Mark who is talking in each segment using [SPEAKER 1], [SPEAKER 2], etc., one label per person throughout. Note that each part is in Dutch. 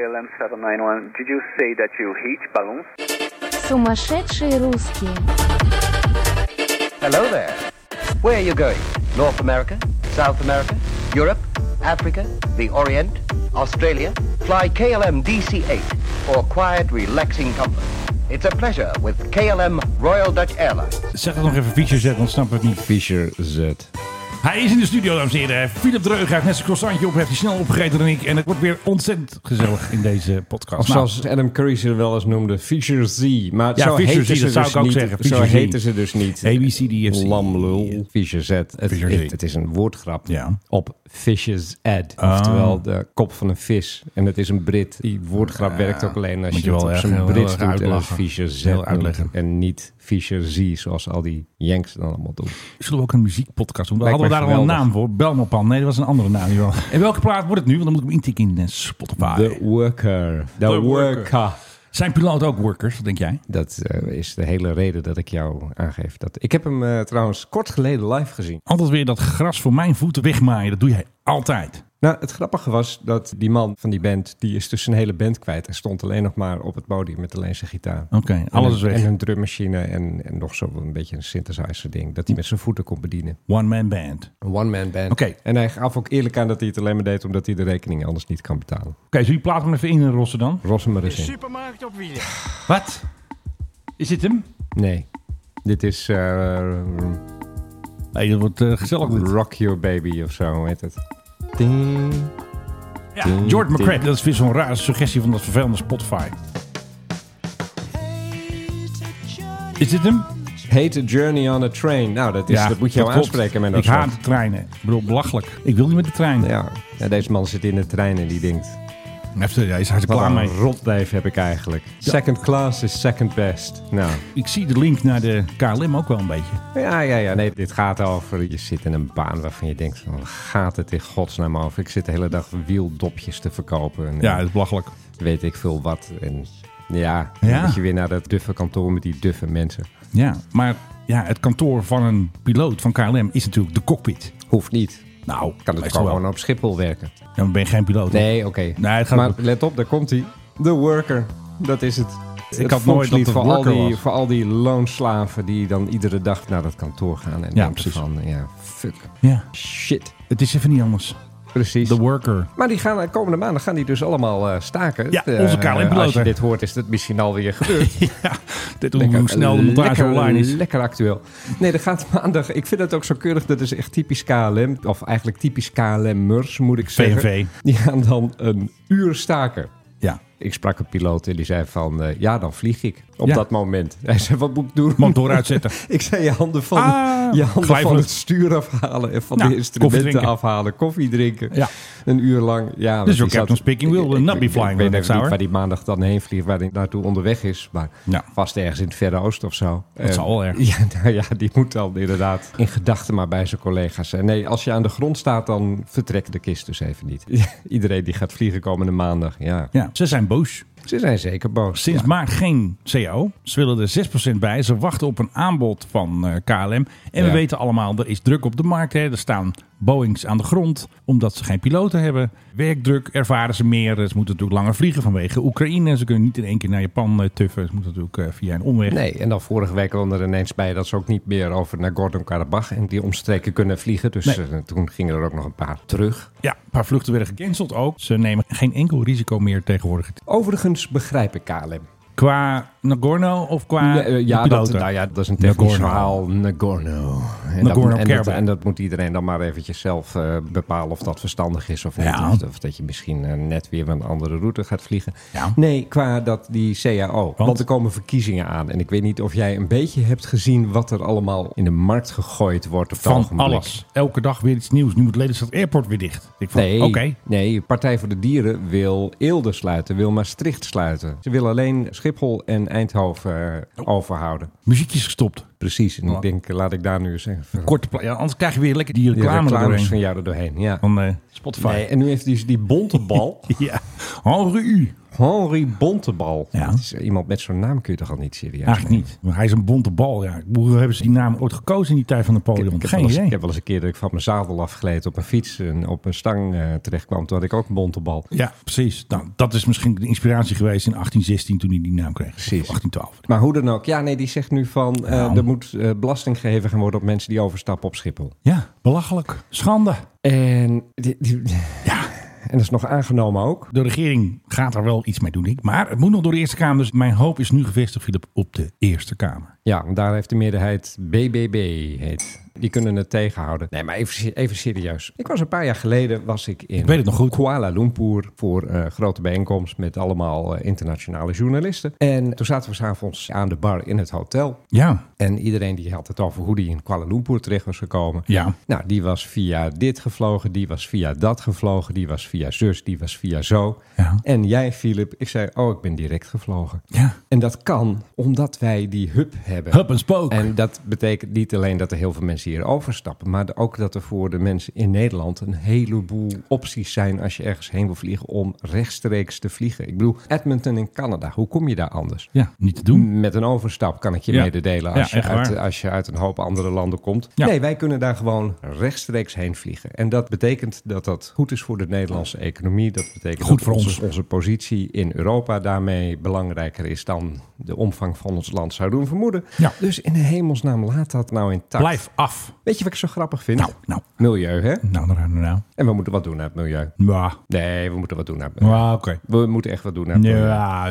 [SPEAKER 1] 1791. Did you say that you hit balloons?
[SPEAKER 2] Сумасшедшие русские.
[SPEAKER 3] Hello there. Where are you going? North America? South America? Europe? Africa? The Orient? Australia? Fly KLM DC-8 for quiet, relaxing comfort. It's a pleasure with KLM Royal Dutch Airlines.
[SPEAKER 4] Zeg dat nog even Fischer Z, dan snap ik het niet.
[SPEAKER 5] Fisher Z.
[SPEAKER 4] Hij is in de studio, dames en heren. Philip Dreug heeft net zijn croissantje op, heeft hij snel opgegeten dan ik. En het wordt weer ontzettend gezellig in deze podcast.
[SPEAKER 5] Of
[SPEAKER 4] Nou,
[SPEAKER 5] zoals Adam Curry ze wel eens noemde, Fisher Z. Maar
[SPEAKER 4] Ja,
[SPEAKER 5] zo
[SPEAKER 4] Fisher
[SPEAKER 5] heten
[SPEAKER 4] Z,
[SPEAKER 5] ze
[SPEAKER 4] dat
[SPEAKER 5] dus
[SPEAKER 4] zou ik ook
[SPEAKER 5] niet.
[SPEAKER 4] zeggen,
[SPEAKER 5] zo
[SPEAKER 4] Fisher Z.
[SPEAKER 5] heten ze dus niet.
[SPEAKER 4] ABCDFC.
[SPEAKER 5] Lamlul. Fisher Z. Het,
[SPEAKER 4] Fisher Z.
[SPEAKER 5] het- het is een woordgrap
[SPEAKER 4] Ja. Ah.
[SPEAKER 5] op Fisher's Ad. Oftewel de kop van een vis. En het is een Brit. Die woordgrap werkt ook alleen als
[SPEAKER 4] Moet
[SPEAKER 5] je,
[SPEAKER 4] je
[SPEAKER 5] het
[SPEAKER 4] wel
[SPEAKER 5] op
[SPEAKER 4] erg-
[SPEAKER 5] zijn
[SPEAKER 4] heel
[SPEAKER 5] Brits
[SPEAKER 4] erg
[SPEAKER 5] doet. En als
[SPEAKER 4] uitlachen.
[SPEAKER 5] Fisher Z
[SPEAKER 4] Heel
[SPEAKER 5] noemt.
[SPEAKER 4] uitleggen.
[SPEAKER 5] En niet Fisher Z zoals al die Yanks dan allemaal doen.
[SPEAKER 4] Zullen we ook een muziekpodcast doen?
[SPEAKER 5] Lijkt
[SPEAKER 4] Hadden we
[SPEAKER 5] mij
[SPEAKER 4] daar al een naam
[SPEAKER 5] geweldig.
[SPEAKER 4] voor? Belmopan. Nee, dat was een andere naam. jawel. En welke plaat wordt het nu? Want dan moet ik hem intikken in eh, Spotify.
[SPEAKER 5] The Worker. The,
[SPEAKER 4] The Worker.
[SPEAKER 5] worker.
[SPEAKER 4] Zijn piloot ook workers? Wat denk jij?
[SPEAKER 5] Dat eh, is de hele reden dat ik jou aangeef. Dat... Ik heb hem eh, trouwens kort geleden live gezien.
[SPEAKER 4] Altijd weer dat gras voor mijn voeten wegmaaien. Dat doe jij altijd.
[SPEAKER 5] Nou, het grappige was dat die man van die band, die is dus zijn hele band kwijt. En stond alleen nog maar op het podium met alleen zijn gitaar.
[SPEAKER 4] Oké, alles is
[SPEAKER 5] en, een-
[SPEAKER 4] weg.
[SPEAKER 5] En een drummachine en, en nog zo'n beetje een synthesizer ding. Dat hij met zijn voeten kon bedienen.
[SPEAKER 4] One man band. Oké,
[SPEAKER 5] Een one-man band.
[SPEAKER 4] Oké.
[SPEAKER 5] En hij gaf ook eerlijk aan dat hij het alleen maar deed omdat hij de rekening anders niet kan betalen.
[SPEAKER 4] zullen je plaat hem even in rossen dan?
[SPEAKER 5] Ros hem maar eens in.
[SPEAKER 6] Supermarkt op wielen.
[SPEAKER 4] Wat? Is dit hem?
[SPEAKER 5] Nee. Dit is eh,
[SPEAKER 4] Nee, dat wordt eh, gezellig. dit.
[SPEAKER 5] Rock Your Baby of zo, hoe heet het? Ding.
[SPEAKER 4] Ja, George McCrae. Dat is weer zo'n rare suggestie van dat vervelende Spotify. Is dit hem?
[SPEAKER 5] Heet A Journey on a Train. Nou, dat, is, dat moet je jou
[SPEAKER 4] klopt.
[SPEAKER 5] aanspreken met dat
[SPEAKER 4] Ik haat
[SPEAKER 5] soort.
[SPEAKER 4] de treinen. Ik bedoel, belachelijk. Ik wil niet met de trein.
[SPEAKER 5] Ja. Ja, deze man zit in de trein en die denkt...
[SPEAKER 4] Even, hij is hartstikke
[SPEAKER 5] Wat
[SPEAKER 4] klaar
[SPEAKER 5] een
[SPEAKER 4] mee.
[SPEAKER 5] rotduif heb ik eigenlijk. Second class is second best. Nou,
[SPEAKER 4] Ik zie de link naar de KLM ook wel een beetje.
[SPEAKER 5] ja, ja, ja. Nee, dit gaat over... Je zit in een baan waarvan je denkt... Van, waar gaat het in godsnaam over? Ik zit de hele dag wieldopjes te verkopen. En,
[SPEAKER 4] Ja,
[SPEAKER 5] eh,
[SPEAKER 4] dat is belachelijk.
[SPEAKER 5] Weet ik veel wat. En ja,
[SPEAKER 4] Ja.
[SPEAKER 5] dan moet je weer naar dat duffe kantoor met die duffe mensen.
[SPEAKER 4] Ja, maar ja, het kantoor van een piloot van KLM is natuurlijk de cockpit.
[SPEAKER 5] Hoeft niet.
[SPEAKER 4] Nou,
[SPEAKER 5] Kan het
[SPEAKER 4] meestal
[SPEAKER 5] gewoon
[SPEAKER 4] wel.
[SPEAKER 5] op Schiphol werken.
[SPEAKER 4] Ja, maar ben je geen piloot.
[SPEAKER 5] Nee, oké.
[SPEAKER 4] Nee, het gaat
[SPEAKER 5] maar
[SPEAKER 4] goed.
[SPEAKER 5] let op, daar komt hij. The Worker, dat is het.
[SPEAKER 4] had
[SPEAKER 5] het
[SPEAKER 4] nooit
[SPEAKER 5] volkslied
[SPEAKER 4] dat het
[SPEAKER 5] voor al,
[SPEAKER 4] Worker
[SPEAKER 5] die,
[SPEAKER 4] was.
[SPEAKER 5] voor al die loonslaven die dan iedere dag naar dat kantoor gaan. En
[SPEAKER 4] Ja,
[SPEAKER 5] denken
[SPEAKER 4] precies.
[SPEAKER 5] van, ja, fuck,
[SPEAKER 4] Ja,
[SPEAKER 5] shit.
[SPEAKER 4] het is even niet anders.
[SPEAKER 5] Precies.
[SPEAKER 4] The worker.
[SPEAKER 5] maar die gaan, eh, komende maanden gaan die dus allemaal eh, staken.
[SPEAKER 4] Ja,
[SPEAKER 5] Eh,
[SPEAKER 4] onze KLM -piloten.
[SPEAKER 5] Als je dit hoort, is dat misschien alweer gebeurd.
[SPEAKER 4] Ja, dit hoe hoe snel de montage
[SPEAKER 5] lekker-
[SPEAKER 4] online is.
[SPEAKER 5] Lekker actueel. Nee, dat gaat maandag. Ik vind het ook zo keurig. Dat is echt typisch KLM. Of eigenlijk typisch KLM-mers, moet ik zeggen.
[SPEAKER 4] VNV.
[SPEAKER 5] Die gaan dan een uur staken.
[SPEAKER 4] Ja,
[SPEAKER 5] Ik sprak een piloot en die zei van... eh, ja, dan vlieg ik op
[SPEAKER 4] Ja.
[SPEAKER 5] dat moment. Hij zei, wat moet ik doen?
[SPEAKER 4] motor uitzetten.
[SPEAKER 5] Ik zei, je handen van,
[SPEAKER 4] Ah,
[SPEAKER 5] je handen van
[SPEAKER 4] glijvlucht.
[SPEAKER 5] het stuur afhalen... en van
[SPEAKER 4] Nou, koffie
[SPEAKER 5] de instrumenten
[SPEAKER 4] drinken.
[SPEAKER 5] afhalen, koffie drinken.
[SPEAKER 4] Ja. Dus
[SPEAKER 5] Een uur lang. Ja, want
[SPEAKER 4] your
[SPEAKER 5] die
[SPEAKER 4] captain
[SPEAKER 5] zat-
[SPEAKER 4] speaking will
[SPEAKER 5] Ik- ik-
[SPEAKER 4] not be
[SPEAKER 5] ik-
[SPEAKER 4] flying
[SPEAKER 5] Ik
[SPEAKER 4] on
[SPEAKER 5] weet
[SPEAKER 4] that
[SPEAKER 5] even niet
[SPEAKER 4] hour.
[SPEAKER 5] waar die maandag dan heen vliegt... waar hij naartoe onderweg is. Maar
[SPEAKER 4] Ja.
[SPEAKER 5] vast ergens in het Verre Oosten of zo.
[SPEAKER 4] Dat
[SPEAKER 5] Eh,
[SPEAKER 4] zal wel erg.
[SPEAKER 5] Ja, nou ja, die moet dan inderdaad in gedachten maar bij zijn collega's zijn. Nee, als je aan de grond staat, dan vertrekt de kist dus even niet. Iedereen die gaat vliegen komende maandag, ja.
[SPEAKER 4] Ja, ze zijn boos.
[SPEAKER 5] Ze zijn zeker boos.
[SPEAKER 4] Sinds
[SPEAKER 5] Ja.
[SPEAKER 4] maart geen CO. Ze willen er 6% bij. Ze wachten op een aanbod van eh, KLM. En we
[SPEAKER 5] Ja.
[SPEAKER 4] weten allemaal, er is druk op de markt. Hè. Er staan Boeings aan de grond, omdat ze geen piloten hebben. Werkdruk ervaren ze meer. Ze moeten natuurlijk langer vliegen vanwege Oekraïne. Ze kunnen niet in één keer naar Japan eh, tuffen. Ze moeten natuurlijk eh, via een omweg.
[SPEAKER 5] Nee, en dan vorige week kwam er ineens bij dat ze ook niet meer over Nagorno-Karabakh en die omstreken kunnen vliegen. Dus
[SPEAKER 4] Nee.
[SPEAKER 5] eh, toen gingen er ook nog een paar terug.
[SPEAKER 4] Ja, een paar vluchten werden gecanceld ook. Ze nemen geen enkel risico meer tegenwoordig.
[SPEAKER 5] Overigens begrijp ik KLM.
[SPEAKER 4] Qua Nagorno of qua
[SPEAKER 5] Nee, eh, ja,
[SPEAKER 4] de
[SPEAKER 5] dat,
[SPEAKER 4] piloten?
[SPEAKER 5] nou ja, dat is een technisch
[SPEAKER 4] Nagorno.
[SPEAKER 5] verhaal. Nagorno. En, dat, en, dat,
[SPEAKER 4] Nagorno-Karabakh.
[SPEAKER 5] en dat moet iedereen dan maar eventjes zelf eh, bepalen of dat verstandig is of niet. Dus
[SPEAKER 4] Ja.
[SPEAKER 5] Of, of dat je misschien eh, net weer een andere route gaat vliegen.
[SPEAKER 4] Ja.
[SPEAKER 5] Nee, qua dat, die CAO. Want? er komen verkiezingen aan. En ik weet niet of jij een beetje hebt gezien wat er allemaal in de markt gegooid wordt. Op het
[SPEAKER 4] van
[SPEAKER 5] ogenblik.
[SPEAKER 4] alles. Elke dag weer iets nieuws. Nu moet Lelystad Airport weer dicht. Ik vond,
[SPEAKER 5] Nee,
[SPEAKER 4] oké.
[SPEAKER 5] nee, Partij voor de Dieren wil Eelde sluiten, wil Maastricht sluiten. Ze wil alleen Schiphol en Eindhoven
[SPEAKER 4] Oh.
[SPEAKER 5] eh, overhouden.
[SPEAKER 4] Muziekjes gestopt.
[SPEAKER 5] Precies, en ik denk, laat ik daar nu eens even...
[SPEAKER 4] Korte pla- ja, anders krijg je weer lekker die
[SPEAKER 5] Die
[SPEAKER 4] reclame
[SPEAKER 5] reclames
[SPEAKER 4] doorheen. Oh,
[SPEAKER 5] van jou er doorheen, ja.
[SPEAKER 4] Van eh, Spotify.
[SPEAKER 5] Nee, en nu heeft hij dus die bonte bal.
[SPEAKER 4] Ja. Henri U.
[SPEAKER 5] Henri Bontebal.
[SPEAKER 4] Ja.
[SPEAKER 5] Dat is, eh, iemand met zo'n naam kun je toch al niet serieus
[SPEAKER 4] Eigenlijk niet. Maar Hij is een bonte bal. Ja. Hoe hebben ze die naam ooit gekozen in die tijd van
[SPEAKER 5] Ik,
[SPEAKER 4] Napoleon?
[SPEAKER 5] ik, heb
[SPEAKER 4] Geen
[SPEAKER 5] wel eens,
[SPEAKER 4] idee.
[SPEAKER 5] ik heb wel eens een keer dat ik van mijn zadel afgleed op een fiets en op een stang eh, terecht kwam. Toen had ik ook een bontebal.
[SPEAKER 4] Ja, precies. Nou, dat is misschien de inspiratie geweest in 1816 toen hij die naam kreeg.
[SPEAKER 5] Precies.
[SPEAKER 4] Of 1812.
[SPEAKER 5] Maar hoe dan ook. Ja, nee, die zegt nu van eh,
[SPEAKER 4] Nou.
[SPEAKER 5] er moet eh, belasting geheven gaan worden op mensen die overstappen op Schiphol.
[SPEAKER 4] Ja, belachelijk. Schande.
[SPEAKER 5] En, die- die-
[SPEAKER 4] Ja,
[SPEAKER 5] en dat is nog aangenomen ook.
[SPEAKER 4] de regering gaat er wel iets mee doen, denk ik. Maar het moet nog door de Eerste Kamer. Dus mijn hoop is nu gevestigd, Philip, op de Eerste Kamer.
[SPEAKER 5] Ja, want daar heeft de meerderheid BBB heet. Die kunnen het tegenhouden. Nee, maar even, even serieus. Ik was een paar jaar geleden was ik in
[SPEAKER 4] Ik weet het nog goed.
[SPEAKER 5] Kuala Lumpur voor eh, grote bijeenkomst met allemaal eh, internationale journalisten. En toen zaten we s'avonds aan de bar in het hotel.
[SPEAKER 4] Ja,
[SPEAKER 5] En iedereen die had het over hoe die in Kuala Lumpur terecht was gekomen.
[SPEAKER 4] ja.
[SPEAKER 5] Nou, die was via dit gevlogen, die was via dat gevlogen, die was via zus, die was via zo.
[SPEAKER 4] Ja.
[SPEAKER 5] En jij, Filip, ik zei, oh, ik ben direct gevlogen.
[SPEAKER 4] Ja.
[SPEAKER 5] En dat kan omdat wij die hub hebben.
[SPEAKER 4] Hup en spook.
[SPEAKER 5] En dat betekent niet alleen dat er heel veel mensen hier overstappen, maar ook dat er voor de mensen in Nederland een heleboel opties zijn als je ergens heen wil vliegen om rechtstreeks te vliegen. Ik bedoel, Edmonton in Canada, hoe kom je daar anders?
[SPEAKER 4] Ja, niet te doen.
[SPEAKER 5] Met een overstap kan ik je
[SPEAKER 4] Ja.
[SPEAKER 5] mededelen als,
[SPEAKER 4] Ja,
[SPEAKER 5] je
[SPEAKER 4] echt
[SPEAKER 5] uit,
[SPEAKER 4] waar.
[SPEAKER 5] als je uit een hoop andere landen komt.
[SPEAKER 4] Ja.
[SPEAKER 5] Nee, wij kunnen daar gewoon rechtstreeks heen vliegen. En dat betekent dat dat goed is voor de Nederlandse economie. Dat betekent
[SPEAKER 4] Goed
[SPEAKER 5] dat
[SPEAKER 4] voor
[SPEAKER 5] onze,
[SPEAKER 4] ons.
[SPEAKER 5] onze positie in Europa daarmee belangrijker is dan de omvang van ons land zou doen vermoeden.
[SPEAKER 4] Ja.
[SPEAKER 5] Dus in de hemelsnaam laat dat nou intact.
[SPEAKER 4] Blijf af.
[SPEAKER 5] Weet je wat ik zo grappig vind?
[SPEAKER 4] Nou, nou.
[SPEAKER 5] Milieu, hè?
[SPEAKER 4] Nou, nou, nou, nou.
[SPEAKER 5] En we moeten wat doen aan het milieu.
[SPEAKER 4] Ja,
[SPEAKER 5] Nee, we moeten wat doen aan het milieu.
[SPEAKER 4] ja oké.
[SPEAKER 5] We moeten echt wat doen aan het milieu.
[SPEAKER 4] Ja,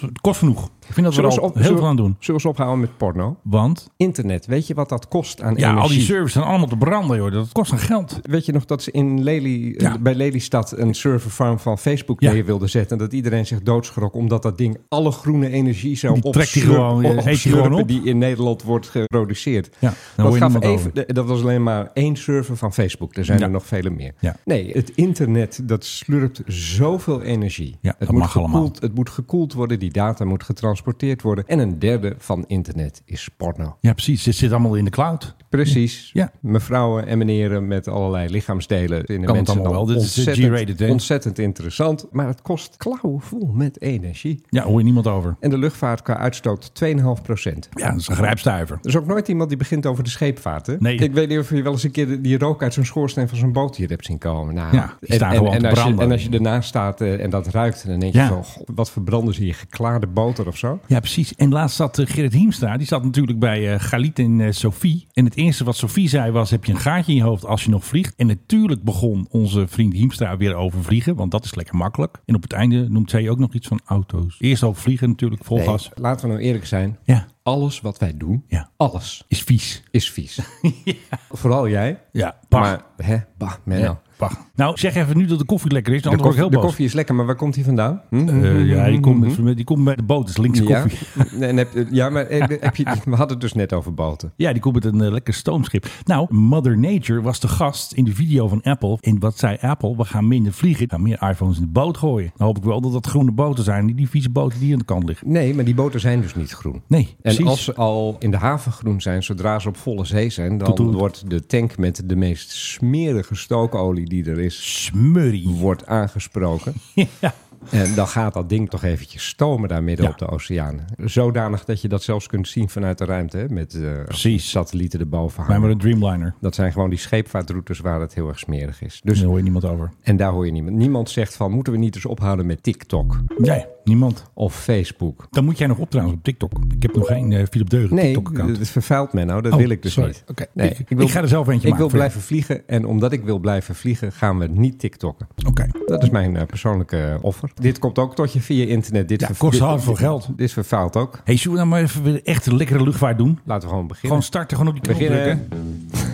[SPEAKER 4] het kost genoeg. Ik vind dat we
[SPEAKER 5] Zullen
[SPEAKER 4] er
[SPEAKER 5] we
[SPEAKER 4] al
[SPEAKER 5] eens op-
[SPEAKER 4] heel
[SPEAKER 5] zullen-
[SPEAKER 4] veel aan doen.
[SPEAKER 5] Zullen we eens ophouden met porno?
[SPEAKER 4] Want
[SPEAKER 5] Internet, weet je wat dat kost aan
[SPEAKER 4] ja,
[SPEAKER 5] energie?
[SPEAKER 4] al die servers zijn allemaal te branden, joh. Dat kost een geld.
[SPEAKER 5] Weet je nog dat ze in Lely, eh,
[SPEAKER 4] Ja.
[SPEAKER 5] bij Lelystad een serverfarm van Facebook
[SPEAKER 4] Ja.
[SPEAKER 5] neer wilden zetten? En dat iedereen zich doodschrok omdat dat ding alle groene energie zou
[SPEAKER 4] Die trekt die
[SPEAKER 5] opslurp-
[SPEAKER 4] gewoon, eh, eet die
[SPEAKER 5] opslurpen
[SPEAKER 4] gewoon op.
[SPEAKER 5] die in Nederland wordt geproduceerd.
[SPEAKER 4] Ja, dan hoor
[SPEAKER 5] dat,
[SPEAKER 4] je
[SPEAKER 5] gaf
[SPEAKER 4] niemand
[SPEAKER 5] even, de- dat was alleen maar één server van Facebook. Er zijn
[SPEAKER 4] Ja.
[SPEAKER 5] er nog vele meer.
[SPEAKER 4] Ja.
[SPEAKER 5] Nee, het internet dat slurpt zoveel energie.
[SPEAKER 4] Ja,
[SPEAKER 5] het,
[SPEAKER 4] dat
[SPEAKER 5] moet
[SPEAKER 4] mag allemaal.
[SPEAKER 5] gekoeld, het moet gekoeld worden, die data moet getransporteerd worden. En een derde van internet is porno.
[SPEAKER 4] Ja, precies. Dit zit allemaal in de cloud.
[SPEAKER 5] Precies.
[SPEAKER 4] Ja.
[SPEAKER 5] Mevrouwen en meneren met allerlei lichaamsdelen. Vinden
[SPEAKER 4] Kan het
[SPEAKER 5] mensen
[SPEAKER 4] allemaal
[SPEAKER 5] dan
[SPEAKER 4] wel. Dit is, eh, G-rated,
[SPEAKER 5] ontzettend,
[SPEAKER 4] hè?
[SPEAKER 5] ontzettend interessant. Maar het kost klauwvol met energie.
[SPEAKER 4] Ja, hoor je niemand over.
[SPEAKER 5] En de luchtvaart qua uitstoot 2,5 procent.
[SPEAKER 4] Ja, dat is een grijpstuiver.
[SPEAKER 5] Er is ook nooit iemand die begint over de scheepvaart. Hè?
[SPEAKER 4] Nee.
[SPEAKER 5] Ik weet niet of je wel eens een keer die rook uit zo'n schoorsteen van zo'n boot hier hebt zien komen. Nou,
[SPEAKER 4] Ja, die staan
[SPEAKER 5] en,
[SPEAKER 4] gewoon
[SPEAKER 5] en, en
[SPEAKER 4] te
[SPEAKER 5] als je,
[SPEAKER 4] branden.
[SPEAKER 5] en als je ernaast staat eh, en dat ruikt, dan denk je
[SPEAKER 4] Ja.
[SPEAKER 5] van, "Goh, wat verbranden ze hier? Geklaarde boter of zo?
[SPEAKER 4] Ja, precies. En laatst zat eh, Gerrit Hiemstra. Die zat natuurlijk bij eh, Galit en eh, Sophie. En het eerste wat Sophie zei was... heb je een gaatje in je hoofd als je nog vliegt? En natuurlijk begon onze vriend Hiemstra weer over vliegen. Want dat is lekker makkelijk. En op het einde noemt zij ook nog iets van auto's. Eerst al vliegen natuurlijk, vol
[SPEAKER 5] Nee,
[SPEAKER 4] gas.
[SPEAKER 5] Laten we nou eerlijk zijn.
[SPEAKER 4] Ja,
[SPEAKER 5] Alles wat wij doen,
[SPEAKER 4] Ja.
[SPEAKER 5] alles
[SPEAKER 4] is vies.
[SPEAKER 5] is vies. Vooral jij.
[SPEAKER 4] Ja, pach.
[SPEAKER 5] Maar, hè, bah, Menno.
[SPEAKER 4] Ja, pach. Nou, zeg even nu dat de koffie lekker is. Dan
[SPEAKER 5] De,
[SPEAKER 4] word ik
[SPEAKER 5] koffie,
[SPEAKER 4] heel boos.
[SPEAKER 5] de koffie is lekker, maar waar komt hij vandaan? Hm?
[SPEAKER 4] Eh, ja, die komt, met- die komt bij de boot. Dat is linkse
[SPEAKER 5] ja?
[SPEAKER 4] koffie.
[SPEAKER 5] Nee, en heb, ja, maar heb, heb je, we hadden het dus net over boten.
[SPEAKER 4] Ja, die komt met een eh, lekker stoomschip. Nou, Mother Nature was de gast in de video van Apple. En wat zei Apple? We gaan minder vliegen. We gaan meer iPhones in de boot gooien. Dan hoop ik wel dat dat groene boten zijn. Niet die vieze boten die aan de kant liggen.
[SPEAKER 5] Nee, maar die boten zijn dus niet groen.
[SPEAKER 4] Nee,
[SPEAKER 5] En
[SPEAKER 4] precies.
[SPEAKER 5] als ze al in de haven groen zijn, zodra ze op volle zee zijn, dan
[SPEAKER 4] Toetoet.
[SPEAKER 5] wordt de tank met de meest smerige stookolie die er is,
[SPEAKER 4] Smurrie.
[SPEAKER 5] wordt aangesproken.
[SPEAKER 4] ja.
[SPEAKER 5] En dan gaat dat ding toch eventjes stomen daar midden
[SPEAKER 4] Ja.
[SPEAKER 5] op de oceaan. Zodanig dat je dat zelfs kunt zien vanuit de ruimte, hè, met eh,
[SPEAKER 4] Precies.
[SPEAKER 5] satellieten erboven
[SPEAKER 4] Wij
[SPEAKER 5] hangen.
[SPEAKER 4] maar een Dreamliner.
[SPEAKER 5] Dat zijn gewoon die scheepvaartroutes waar het heel erg smerig is. Dus,
[SPEAKER 4] Daar hoor je niemand over.
[SPEAKER 5] En daar hoor je niemand. Niemand zegt van, moeten we niet eens ophouden met TikTok
[SPEAKER 4] Nee, niemand.
[SPEAKER 5] of Facebook?
[SPEAKER 4] Dan moet jij nog op trouwens op TikTok. Ik heb nog geen eh, Philip Deugen
[SPEAKER 5] Nee,
[SPEAKER 4] TikTok-account.
[SPEAKER 5] dat vervuilt me nou. Dat
[SPEAKER 4] Oh,
[SPEAKER 5] wil ik dus
[SPEAKER 4] sorry.
[SPEAKER 5] niet.
[SPEAKER 4] Oké.
[SPEAKER 5] Nee,
[SPEAKER 4] Ik- ik ga er zelf eentje maken
[SPEAKER 5] Ik wil
[SPEAKER 4] voor jou.
[SPEAKER 5] blijven vliegen en omdat ik wil blijven vliegen gaan we niet TikTokken.
[SPEAKER 4] Oké.
[SPEAKER 5] Dat is mijn eh, persoonlijke offer. Dit komt ook tot je via internet. Dit
[SPEAKER 4] Ja,
[SPEAKER 5] ver-
[SPEAKER 4] kost
[SPEAKER 5] dit-
[SPEAKER 4] hard veel
[SPEAKER 5] dit-
[SPEAKER 4] geld.
[SPEAKER 5] Dit vervuilt ook.
[SPEAKER 4] Hey, zullen we nou maar even weer echt een lekkere luchtvaart doen?
[SPEAKER 5] Laten we gewoon beginnen.
[SPEAKER 4] Gewoon starten, gewoon op die knop
[SPEAKER 5] Beginnen.
[SPEAKER 4] drukken.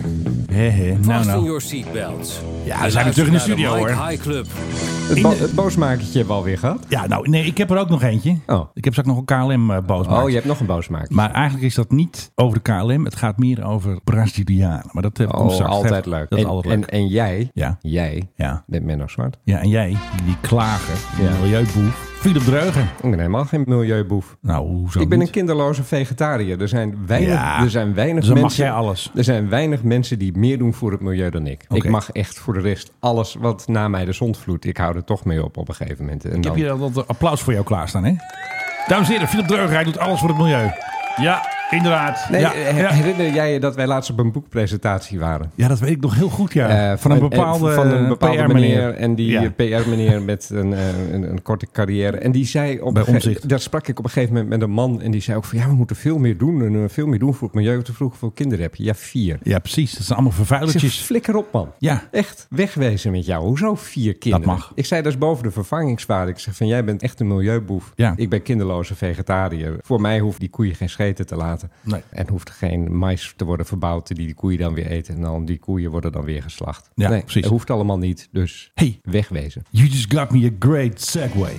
[SPEAKER 4] Hé, hé. Nou,
[SPEAKER 6] Fasten
[SPEAKER 4] nou.
[SPEAKER 6] your seatbelts.
[SPEAKER 4] Ja, we zijn weer terug in de studio,
[SPEAKER 6] Mike
[SPEAKER 4] hoor.
[SPEAKER 6] High Club.
[SPEAKER 5] het, bo het boosmakertje hebben we alweer gehad.
[SPEAKER 4] Ja, nou, nee, ik heb er ook nog eentje.
[SPEAKER 5] Oh.
[SPEAKER 4] Ik heb straks nog een KLM eh, boos
[SPEAKER 5] Oh, je hebt nog een boosmakertje.
[SPEAKER 4] Maar eigenlijk is dat niet over de KLM. Het gaat meer over Brazilianen. Maar dat heb ik
[SPEAKER 5] Oh, altijd leuk.
[SPEAKER 4] Dat is
[SPEAKER 5] en,
[SPEAKER 4] altijd leuk.
[SPEAKER 5] En, en jij,
[SPEAKER 4] Ja.
[SPEAKER 5] jij
[SPEAKER 4] ja.
[SPEAKER 5] bent Menno Zwart.
[SPEAKER 4] ja, en jij, die klager, die
[SPEAKER 5] Ja.
[SPEAKER 4] milieuboef. Philip Dreugen.
[SPEAKER 5] Ik ben helemaal geen milieuboef.
[SPEAKER 4] Nou, hoezo
[SPEAKER 5] ik ben
[SPEAKER 4] niet?
[SPEAKER 5] een kinderloze vegetariër. Er zijn weinig,
[SPEAKER 4] Ja.
[SPEAKER 5] er zijn weinig
[SPEAKER 4] Dus dan mag
[SPEAKER 5] mensen.
[SPEAKER 4] jij alles.
[SPEAKER 5] Er zijn weinig mensen die meer doen voor het milieu dan ik.
[SPEAKER 4] Oké.
[SPEAKER 5] Ik mag echt voor de rest alles wat na mij de zon vloedt. Ik hou er toch mee op op een gegeven moment. En
[SPEAKER 4] Ik heb
[SPEAKER 5] dan,
[SPEAKER 4] hier al dat applaus voor jou klaarstaan, hè? Dames en heren, Philip Dreugen, hij doet alles voor het milieu. Ja, inderdaad.
[SPEAKER 5] nee, eh,
[SPEAKER 4] ja,
[SPEAKER 5] her-
[SPEAKER 4] ja.
[SPEAKER 5] herinner jij je dat wij laatst op een boekpresentatie waren?
[SPEAKER 4] Ja, dat weet ik nog heel goed, ja.
[SPEAKER 5] Eh,
[SPEAKER 4] van, een
[SPEAKER 5] eh,
[SPEAKER 4] bepaalde,
[SPEAKER 5] van een bepaalde
[SPEAKER 4] PR
[SPEAKER 5] meneer. En die eh,
[SPEAKER 4] Ja.
[SPEAKER 5] PR-meneer met een, eh, een, een korte carrière. En die zei op
[SPEAKER 4] Bij
[SPEAKER 5] een ge-
[SPEAKER 4] Omtzigt.
[SPEAKER 5] Daar sprak ik op een gegeven moment met een man. En die zei ook van ja, we moeten veel meer doen. En eh, veel meer doen voor het milieu. Te vroeg voor kinderen heb je. Ja, vier.
[SPEAKER 4] Ja, precies. Dat zijn allemaal
[SPEAKER 5] Ik zeg,
[SPEAKER 4] vervuilertjes.
[SPEAKER 5] flikker op man.
[SPEAKER 4] Ja.
[SPEAKER 5] Echt wegwezen met jou. Hoezo vier kinderen?
[SPEAKER 4] mag.
[SPEAKER 5] Ik zei, dat is boven de vervangingswaarde. Ik zeg van, jij bent echt een milieuboef.
[SPEAKER 4] Ja.
[SPEAKER 5] Ik ben kinderloze vegetariër. Voor mij hoeft die koeien geen scheten te laten.
[SPEAKER 4] Nee.
[SPEAKER 5] En hoeft geen mais te worden verbouwd die die koeien dan weer eten. En dan die koeien worden dan weer geslacht.
[SPEAKER 4] Ja,
[SPEAKER 5] nee,
[SPEAKER 4] precies.
[SPEAKER 5] Dat hoeft allemaal niet. Dus
[SPEAKER 4] Hey.
[SPEAKER 5] wegwezen.
[SPEAKER 4] You just got me a great segue.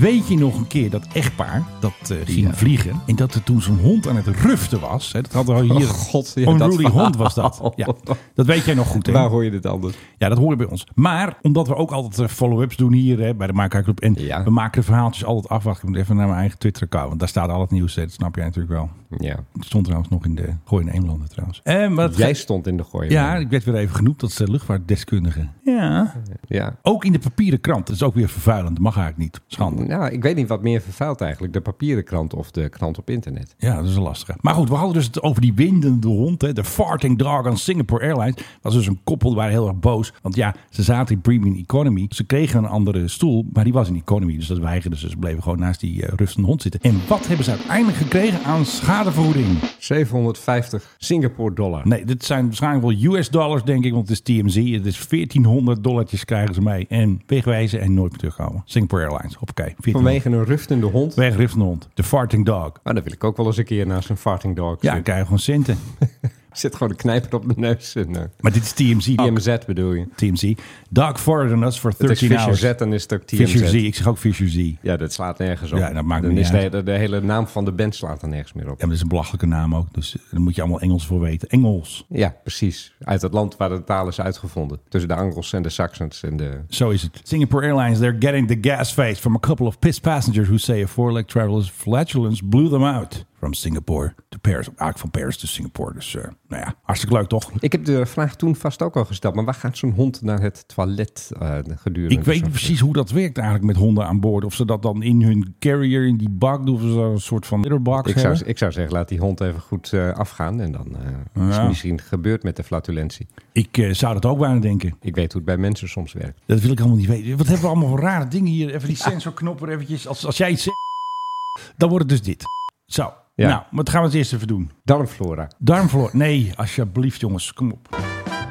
[SPEAKER 4] Weet je nog een keer dat echtpaar dat eh, ging vliegen en dat er toen zo'n hond aan het ruften was? Hè, dat hadden we hier.
[SPEAKER 5] Oh, god, ja, dat
[SPEAKER 4] Unruly
[SPEAKER 5] verhaal.
[SPEAKER 4] hond was dat. Ja, dat weet jij nog goed, hè?
[SPEAKER 5] Waar hoor je dit anders?
[SPEAKER 4] Ja, dat hoor je bij ons. Maar omdat we ook altijd eh, follow-ups doen hier hè, bij de Maker Club. En
[SPEAKER 5] Ja.
[SPEAKER 4] we maken de verhaaltjes altijd af. Wacht, ik moet even naar mijn eigen Twitter-account. Want daar staat al het nieuws. hè, Dat snap jij natuurlijk wel.
[SPEAKER 5] Ja.
[SPEAKER 4] Het stond trouwens nog in de Gooi in Eemlanden trouwens. Eh, maar het-
[SPEAKER 5] Jij stond in de gooi.
[SPEAKER 4] Ja, ik werd weer even genoemd. Dat is de luchtvaartdeskundige. Ja.
[SPEAKER 5] ja.
[SPEAKER 4] Ook in de papieren krant. Dat is ook weer vervuilend. Mag eigenlijk niet. Schande.
[SPEAKER 5] Nou, ik weet niet wat meer vervuilt eigenlijk. De papieren krant of de krant op internet.
[SPEAKER 4] Ja, dat is een lastige. Maar goed, we hadden dus het over die windende hond. Hè, de farting dog aan Singapore Airlines. Dat was dus een koppel, die waren heel erg boos. Want ja, ze zaten in premium economy. Ze kregen een andere stoel, maar die was in economy. Dus dat weigerden ze. Ze bleven gewoon naast die eh, rustende hond zitten. En wat hebben ze uiteindelijk gekregen aan schadevergoeding?
[SPEAKER 5] 750 Singapore dollar.
[SPEAKER 4] Nee, dit zijn waarschijnlijk wel US dollars, denk ik. Want het is TMZ. Het is 1400 dollartjes krijgen ze mee. En wegwijzen en nooit meer terugkomen. Singapore Airlines. Hoppakee. 1400.
[SPEAKER 5] Vanwege een ruftende hond.
[SPEAKER 4] Weg rustende hond. De farting dog.
[SPEAKER 5] Maar dan wil ik ook wel eens een keer naast een farting dog
[SPEAKER 4] Ja, dan
[SPEAKER 5] zitten.
[SPEAKER 4] krijg je gewoon centen.
[SPEAKER 5] Zit gewoon een knijper op mijn neus. En, eh,
[SPEAKER 4] Maar dit is TMZ.
[SPEAKER 5] TMZ bedoel je.
[SPEAKER 4] TMZ. Doug forwarded us for
[SPEAKER 5] Het is
[SPEAKER 4] 13
[SPEAKER 5] Fisher
[SPEAKER 4] hours.
[SPEAKER 5] Z, dan is het ook TMZ.
[SPEAKER 4] Fisher Z. Ik zeg ook Fisher Z. Ja,
[SPEAKER 5] Ja, dat slaat nergens op.
[SPEAKER 4] Ja, dat maakt me
[SPEAKER 5] dan
[SPEAKER 4] niet
[SPEAKER 5] is de,
[SPEAKER 4] uit.
[SPEAKER 5] hele- de hele naam van de band slaat er nergens meer op. Ja,
[SPEAKER 4] maar dat is een belachelijke naam ook. Dus daar moet je allemaal Engels voor weten. Engels.
[SPEAKER 5] precies. Uit het land waar de taal is uitgevonden. Tussen de Angels en de Saxons en de...
[SPEAKER 4] Zo is het. Singapore Airlines, they're getting the gas face from a couple of pissed passengers who say a four-leg traveler's flatulence blew them out. From Singapore to Paris. Eigenlijk van Paris to Singapore. Dus eh, nou ja, hartstikke leuk toch?
[SPEAKER 5] Ik heb de vraag toen vast ook al gesteld. Maar waar gaat zo'n hond naar het toilet eh, gedurende?
[SPEAKER 4] Ik weet
[SPEAKER 5] zo'n-
[SPEAKER 4] niet precies hoe dat werkt eigenlijk met honden aan boord. Of ze dat dan in hun carrier, in die bak doen. Of ze daar een soort van litterbox
[SPEAKER 5] Ik zou,
[SPEAKER 4] hebben.
[SPEAKER 5] ik zou zeggen, laat die hond even goed eh, afgaan. En dan eh, is
[SPEAKER 4] Ja.
[SPEAKER 5] het misschien gebeurd met de flatulentie.
[SPEAKER 4] Ik eh, zou dat ook bijna denken.
[SPEAKER 5] Ik weet hoe het bij mensen soms werkt.
[SPEAKER 4] Dat wil ik allemaal niet weten. Wat hebben we allemaal voor rare dingen hier? Even die sensorknopper eventjes. Als, als jij iets zegt, dan wordt het dus dit. Zo.
[SPEAKER 5] Ja.
[SPEAKER 4] Nou, wat gaan we het eerst even doen?
[SPEAKER 5] Darmflora.
[SPEAKER 4] Darmvloer. Nee, alsjeblieft jongens. Kom op.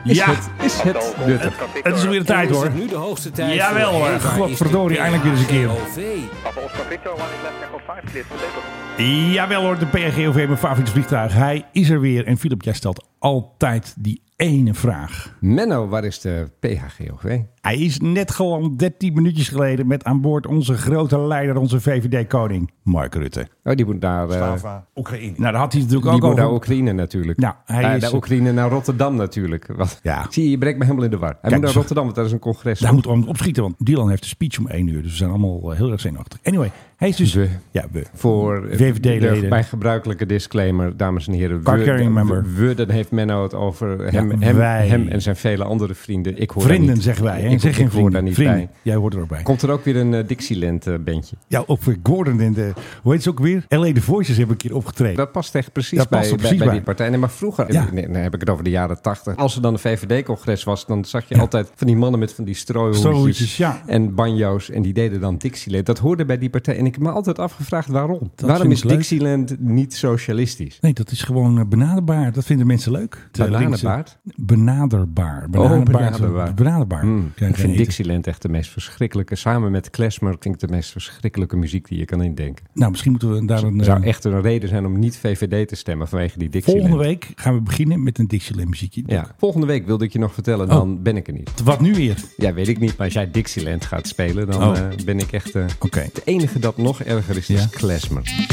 [SPEAKER 5] Is
[SPEAKER 4] ja,
[SPEAKER 5] het, is het nuttig?
[SPEAKER 4] het is weer de tijd hoor.
[SPEAKER 6] Nu de hoogste tijd.
[SPEAKER 4] Jawel, hoor. Godverdorie, eindelijk weer eens een keer.
[SPEAKER 1] Oscar Victor, one is left echo 5, clear to label.
[SPEAKER 4] Jawel hoor, de PRGOV, mijn favoriete vliegtuig. Hij is er weer. En Philip, jij stelt altijd die ene vraag.
[SPEAKER 5] Menno, waar is de PHGOV?
[SPEAKER 4] Hij is net geland 13 minuutjes geleden met aan boord onze grote leider, onze VVD-koning, Mark Rutte.
[SPEAKER 5] Oh, die moet naar, eh,
[SPEAKER 4] Oekraïne. Nou, daar had hij natuurlijk
[SPEAKER 5] die
[SPEAKER 4] ook
[SPEAKER 5] moet naar
[SPEAKER 4] over.
[SPEAKER 5] Oekraïne natuurlijk.
[SPEAKER 4] Nou, hij
[SPEAKER 5] Eh,
[SPEAKER 4] is-
[SPEAKER 5] naar Oekraïne, naar Rotterdam natuurlijk. Wat?
[SPEAKER 4] Ja.
[SPEAKER 5] Zie je, je brengt me helemaal in de war. Hij moet naar
[SPEAKER 4] zo-
[SPEAKER 5] Rotterdam, want daar is een congres.
[SPEAKER 4] Daar moeten we om opschieten, want Dylan heeft een speech om één uur. Dus we zijn allemaal eh, heel erg zenuwachtig. Anyway, hij is dus...
[SPEAKER 5] We.
[SPEAKER 4] Ja, we.
[SPEAKER 5] Voor eh,
[SPEAKER 4] VVD-leden.
[SPEAKER 5] de- mijn gebruikelijke disclaimer, dames en heren.
[SPEAKER 4] Car
[SPEAKER 5] we-
[SPEAKER 4] carrying
[SPEAKER 5] we-
[SPEAKER 4] member.
[SPEAKER 5] We, dan heeft Menno het over hem, hem,
[SPEAKER 4] wij.
[SPEAKER 5] hem en zijn vele andere vrienden. Ik hoor daar
[SPEAKER 4] Vrienden,
[SPEAKER 5] niet-
[SPEAKER 4] zeggen wij. Hè?
[SPEAKER 5] Ik,
[SPEAKER 4] zeg
[SPEAKER 5] ik
[SPEAKER 4] geen
[SPEAKER 5] hoor
[SPEAKER 4] vrienden.
[SPEAKER 5] daar niet
[SPEAKER 4] vrienden.
[SPEAKER 5] bij.
[SPEAKER 4] Jij hoort er ook bij.
[SPEAKER 5] Komt er ook weer een eh, Dixieland-bandje?
[SPEAKER 4] Ja, ook voor Gordon en de... Hoe heet ze ook weer? L.A. The Voices hebben een keer opgetreden.
[SPEAKER 5] Dat past echt precies,
[SPEAKER 4] Dat past
[SPEAKER 5] bij,
[SPEAKER 4] er precies
[SPEAKER 5] bij, bij
[SPEAKER 4] bij.
[SPEAKER 5] die partij. Nee, maar vroeger,
[SPEAKER 4] Ja.
[SPEAKER 5] nee, dan heb ik het over de jaren tachtig. Als er dan een VVD-congres was, dan zag je altijd van die mannen met van die
[SPEAKER 4] Stroohoedjes,
[SPEAKER 5] strooihoedjes
[SPEAKER 4] ja.
[SPEAKER 5] en banjo's. En die deden dan Dixieland. Dat hoorde bij die partij. En ik heb me altijd afgevraagd waarom. waarom
[SPEAKER 4] vind
[SPEAKER 5] is
[SPEAKER 4] ik leuk.
[SPEAKER 5] Dixieland niet socialistisch?
[SPEAKER 4] Nee, dat is gewoon eh, benaderbaar. Dat vinden mensen leuk. Nou, De
[SPEAKER 5] Bananerbaard?
[SPEAKER 4] linkse- Benaderbaar. Benaderbaar.
[SPEAKER 5] Oh, benaderbaar. Hmm,
[SPEAKER 4] Benaderbaar. Ja,
[SPEAKER 5] Ik
[SPEAKER 4] geen
[SPEAKER 5] vind
[SPEAKER 4] eten.
[SPEAKER 5] Dixieland echt de meest verschrikkelijke. Samen met Klezmer klinkt de meest verschrikkelijke muziek die je kan indenken.
[SPEAKER 4] Nou, misschien moeten we daar een...
[SPEAKER 5] Er
[SPEAKER 4] eh,
[SPEAKER 5] zou echt een reden zijn om niet VVD te stemmen vanwege die Dixieland.
[SPEAKER 4] volgende week gaan we beginnen met een Dixieland muziekje.
[SPEAKER 5] Ja, volgende week wilde ik je nog
[SPEAKER 4] Oh.
[SPEAKER 5] vertellen, dan ben ik er niet.
[SPEAKER 4] Wat nu weer?
[SPEAKER 5] Ja, weet ik niet. Maar als jij Dixieland gaat spelen, dan
[SPEAKER 4] Oh.
[SPEAKER 5] eh, ben ik echt... eh
[SPEAKER 4] Oké.
[SPEAKER 5] Het enige dat nog erger is,
[SPEAKER 4] Ja.
[SPEAKER 5] is klezmer.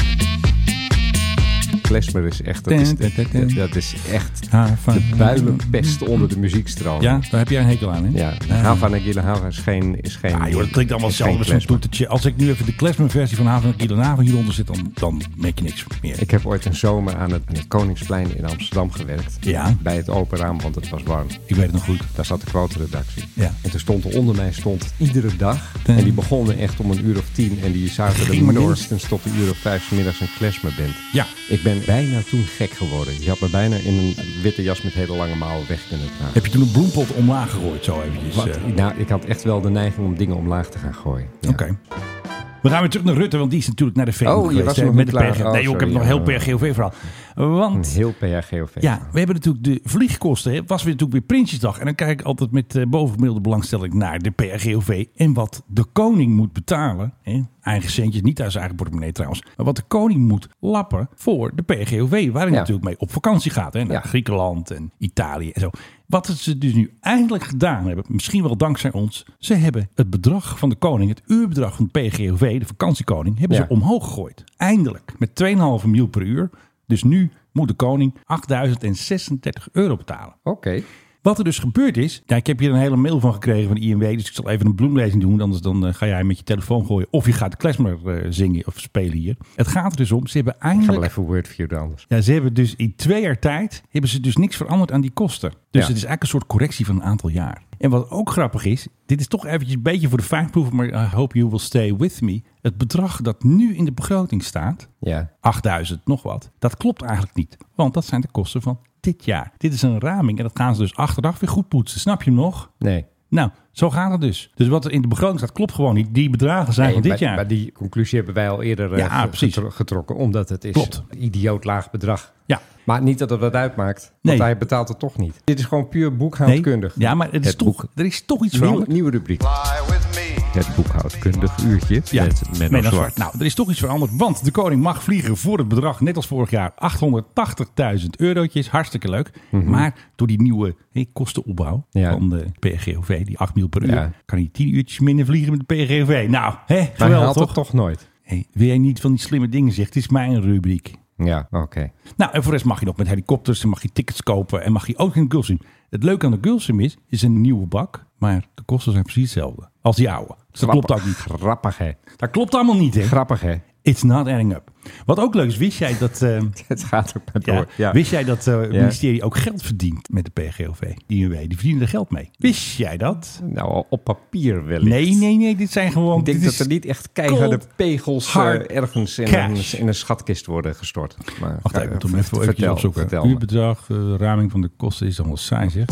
[SPEAKER 5] klezmer is echt... Dat is, dat is echt de builenpest onder de muziekstroming.
[SPEAKER 4] Ah, Ja, daar heb jij een hekel aan, hè?
[SPEAKER 5] Ja, Hava Nagila Hava is geen... Is geen
[SPEAKER 4] Ah, joh, dat klinkt allemaal
[SPEAKER 5] is geen
[SPEAKER 4] hetzelfde met zo'n
[SPEAKER 5] klezmer.
[SPEAKER 4] toetertje. Als ik nu even de klezmerversie van Haven en Haven hieronder zit, dan, dan merk je niks meer.
[SPEAKER 5] Ik heb ooit een zomer aan het, aan het Koningsplein in Amsterdam gewerkt.
[SPEAKER 4] Ja.
[SPEAKER 5] Bij het open raam, want het was warm.
[SPEAKER 4] Ik weet het nog goed.
[SPEAKER 5] Daar zat de quoteredactie.
[SPEAKER 4] Ja.
[SPEAKER 5] En toen stond er onder mij stond iedere dag. En die begonnen echt om een uur of tien. En die zaten
[SPEAKER 4] Ging
[SPEAKER 5] er
[SPEAKER 4] maar door.
[SPEAKER 5] minstens tot een uur of vijf 's middags een klesmerband.
[SPEAKER 4] Ja.
[SPEAKER 5] Ik ben bijna toen gek geworden. Je had me bijna in een witte jas met hele lange mouwen weg kunnen dragen.
[SPEAKER 4] Heb je toen een bloempot omlaag gegooid, zo eventjes?
[SPEAKER 5] Wat?
[SPEAKER 4] eh?
[SPEAKER 5] Nou, ik had echt wel de neiging om dingen omlaag te gaan gooien. Ja.
[SPEAKER 4] Oké. We gaan weer terug naar Rutte, want die is natuurlijk naar de VN
[SPEAKER 5] Oh, je
[SPEAKER 4] geweest.
[SPEAKER 5] was
[SPEAKER 4] hè,
[SPEAKER 5] nog
[SPEAKER 4] met de
[SPEAKER 5] niet klaar.
[SPEAKER 4] PRG.
[SPEAKER 5] Oh,
[SPEAKER 4] Nee, joh, ik heb
[SPEAKER 5] sorry,
[SPEAKER 4] nog een heel
[SPEAKER 5] ja. Hm.
[SPEAKER 4] PRGOV-verhaal. Want
[SPEAKER 5] Een heel PHGOV.
[SPEAKER 4] Ja, we hebben natuurlijk de vliegkosten. Hè. Was weer natuurlijk weer Prinsjesdag. En dan kijk ik altijd met eh bovenmiddelde belangstelling naar de PRGOV. En wat de koning moet betalen. Hè. Eigen centjes, niet uit zijn eigen portemonnee trouwens. Maar wat de koning moet lappen voor de PRGOV. Waar hij
[SPEAKER 5] Ja.
[SPEAKER 4] natuurlijk mee op vakantie gaat. Hè. Naar
[SPEAKER 5] Ja.
[SPEAKER 4] Griekenland en Italië en zo. Wat ze dus nu eindelijk gedaan hebben, misschien wel dankzij ons. Ze hebben het bedrag van de koning, het uurbedrag van de PGOV, de vakantiekoning, hebben
[SPEAKER 5] Ja.
[SPEAKER 4] ze Dus omhoog gegooid. Eindelijk. Met 2,5 mil per uur. Dus nu moet de koning 8.036 euro betalen.
[SPEAKER 5] Oké.
[SPEAKER 4] Wat er dus gebeurd is. Ja, ik heb hier een hele mail van gekregen van de INW. Dus ik zal even een bloemlezing doen. Anders dan eh, ga jij met je telefoon gooien. Of je gaat de klezmer eh, zingen of spelen hier. Het gaat er dus om. Ze hebben
[SPEAKER 5] Ik ga wel
[SPEAKER 4] eindelijk.
[SPEAKER 5] even Wordview doen anders.
[SPEAKER 4] Ja, ze hebben dus in twee jaar tijd hebben ze dus niks veranderd aan die kosten. Dus
[SPEAKER 5] Ja.
[SPEAKER 4] het is eigenlijk een soort correctie van een aantal jaar. En wat ook grappig is, dit is toch eventjes een beetje voor de fijnproef, maar I hope you will stay with me. Het bedrag dat nu in de begroting staat,
[SPEAKER 5] Ja.
[SPEAKER 4] 8000 nog wat, dat klopt eigenlijk niet. Want dat zijn de kosten van dit jaar. Dit is een raming en dat gaan ze dus achteraf weer goed poetsen. Snap je hem nog?
[SPEAKER 5] Nee.
[SPEAKER 4] Nou, zo gaat het dus. Dus wat er in de begroting staat, klopt gewoon niet. Die bedragen zijn
[SPEAKER 5] Nee,
[SPEAKER 4] van dit
[SPEAKER 5] maar,
[SPEAKER 4] jaar.
[SPEAKER 5] maar die conclusie hebben wij al eerder eh,
[SPEAKER 4] Ja,
[SPEAKER 5] ge-
[SPEAKER 4] precies.
[SPEAKER 5] getro- getrokken, omdat het is
[SPEAKER 4] Klopt.
[SPEAKER 5] een idioot laag bedrag.
[SPEAKER 4] Ja.
[SPEAKER 5] Maar niet dat het wat uitmaakt, want
[SPEAKER 4] Nee.
[SPEAKER 5] hij betaalt het toch niet. Dit is gewoon puur
[SPEAKER 4] Nee,
[SPEAKER 5] boekhoudkundig.
[SPEAKER 4] ja, maar het is
[SPEAKER 5] Het
[SPEAKER 4] toch, er is toch iets
[SPEAKER 5] Nieuwe,
[SPEAKER 4] veranderd.
[SPEAKER 5] nieuwe rubriek. Het boekhoudkundig uurtje met Menno
[SPEAKER 4] Menno
[SPEAKER 5] Zwart.
[SPEAKER 4] Nou, er is toch iets veranderd, want de koning mag vliegen voor het bedrag, net als vorig jaar, 880.000 eurotjes. Hartstikke leuk. Maar door die nieuwe hé, kostenopbouw
[SPEAKER 5] Mhm. Ja.
[SPEAKER 4] van de PRGOV, die 8 mil per uur,
[SPEAKER 5] Ja.
[SPEAKER 4] kan hij 10 uurtjes minder vliegen met de PRGOV. Nou, hè,
[SPEAKER 5] Maar hij
[SPEAKER 4] geweldig
[SPEAKER 5] haalt
[SPEAKER 4] toch?
[SPEAKER 5] het toch nooit.
[SPEAKER 4] Hé, wil jij niet van die slimme dingen zeggen? Het is mijn rubriek.
[SPEAKER 5] Ja, oké.
[SPEAKER 4] Nou, en voor de rest mag je nog met helikopters en mag je tickets kopen en mag je ook in de Gulfstream. Het leuke aan de Gulfstream is, is een nieuwe bak, maar de kosten zijn precies hetzelfde als die oude. Dus dat klopt ook niet.
[SPEAKER 5] Grappig, hè?
[SPEAKER 4] Dat klopt allemaal niet, hè?
[SPEAKER 5] Grappig, hè?
[SPEAKER 4] It's not adding up. Wat ook leuk is, wist jij dat, eh,
[SPEAKER 5] Het gaat ook maar
[SPEAKER 4] ja,
[SPEAKER 5] door. Ja.
[SPEAKER 4] wist jij dat eh, het
[SPEAKER 5] Ja.
[SPEAKER 4] ministerie ook geld verdient met de PGOV? Die INW, die verdienen er geld mee. Wist jij dat?
[SPEAKER 5] Nou, op papier wellicht.
[SPEAKER 4] Nee, nee, nee, dit zijn gewoon...
[SPEAKER 5] Ik denk
[SPEAKER 4] dit
[SPEAKER 5] dat
[SPEAKER 4] is
[SPEAKER 5] er niet echt keiharde
[SPEAKER 4] cold,
[SPEAKER 5] pegels
[SPEAKER 4] hard
[SPEAKER 5] eh, ergens in
[SPEAKER 4] cash.
[SPEAKER 5] een, in een schatkist worden gestort. Maar,
[SPEAKER 4] Wacht
[SPEAKER 5] ga-
[SPEAKER 4] even, toen
[SPEAKER 5] ver-
[SPEAKER 4] even eventjes opzoeken.
[SPEAKER 5] vertel me.
[SPEAKER 4] Uurbedrag, eh, raming van de kosten is dan wel saai, zeg.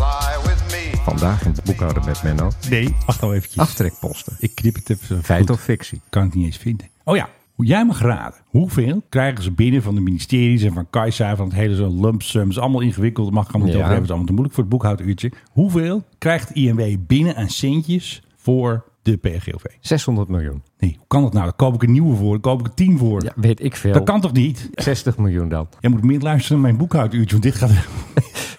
[SPEAKER 5] Vandaag in het boekhouden met Menno.
[SPEAKER 4] Nee, wacht nou eventjes.
[SPEAKER 5] Aftrekposten.
[SPEAKER 4] Ik knip het even.
[SPEAKER 5] Feit
[SPEAKER 4] goed.
[SPEAKER 5] of fictie?
[SPEAKER 4] Kan ik niet eens vinden. Oh ja, hoe jij mag raden. Hoeveel krijgen ze binnen van de ministeries en van Kajsa, van het hele zo'n lump sum. is allemaal ingewikkeld, dat mag ik allemaal niet
[SPEAKER 5] Ja.
[SPEAKER 4] over hebben. Het is allemaal te moeilijk voor het boekhouduurtje. Hoeveel krijgt INW binnen aan centjes voor de PGOV?
[SPEAKER 5] 600 miljoen.
[SPEAKER 4] Nee, hoe kan dat nou? Daar koop ik een nieuwe voor, daar koop ik een tien voor.
[SPEAKER 5] Ja, weet ik veel.
[SPEAKER 4] Dat kan toch niet?
[SPEAKER 5] 60 miljoen dan.
[SPEAKER 4] Jij moet meer luisteren naar mijn boekhouduurtje, want dit gaat...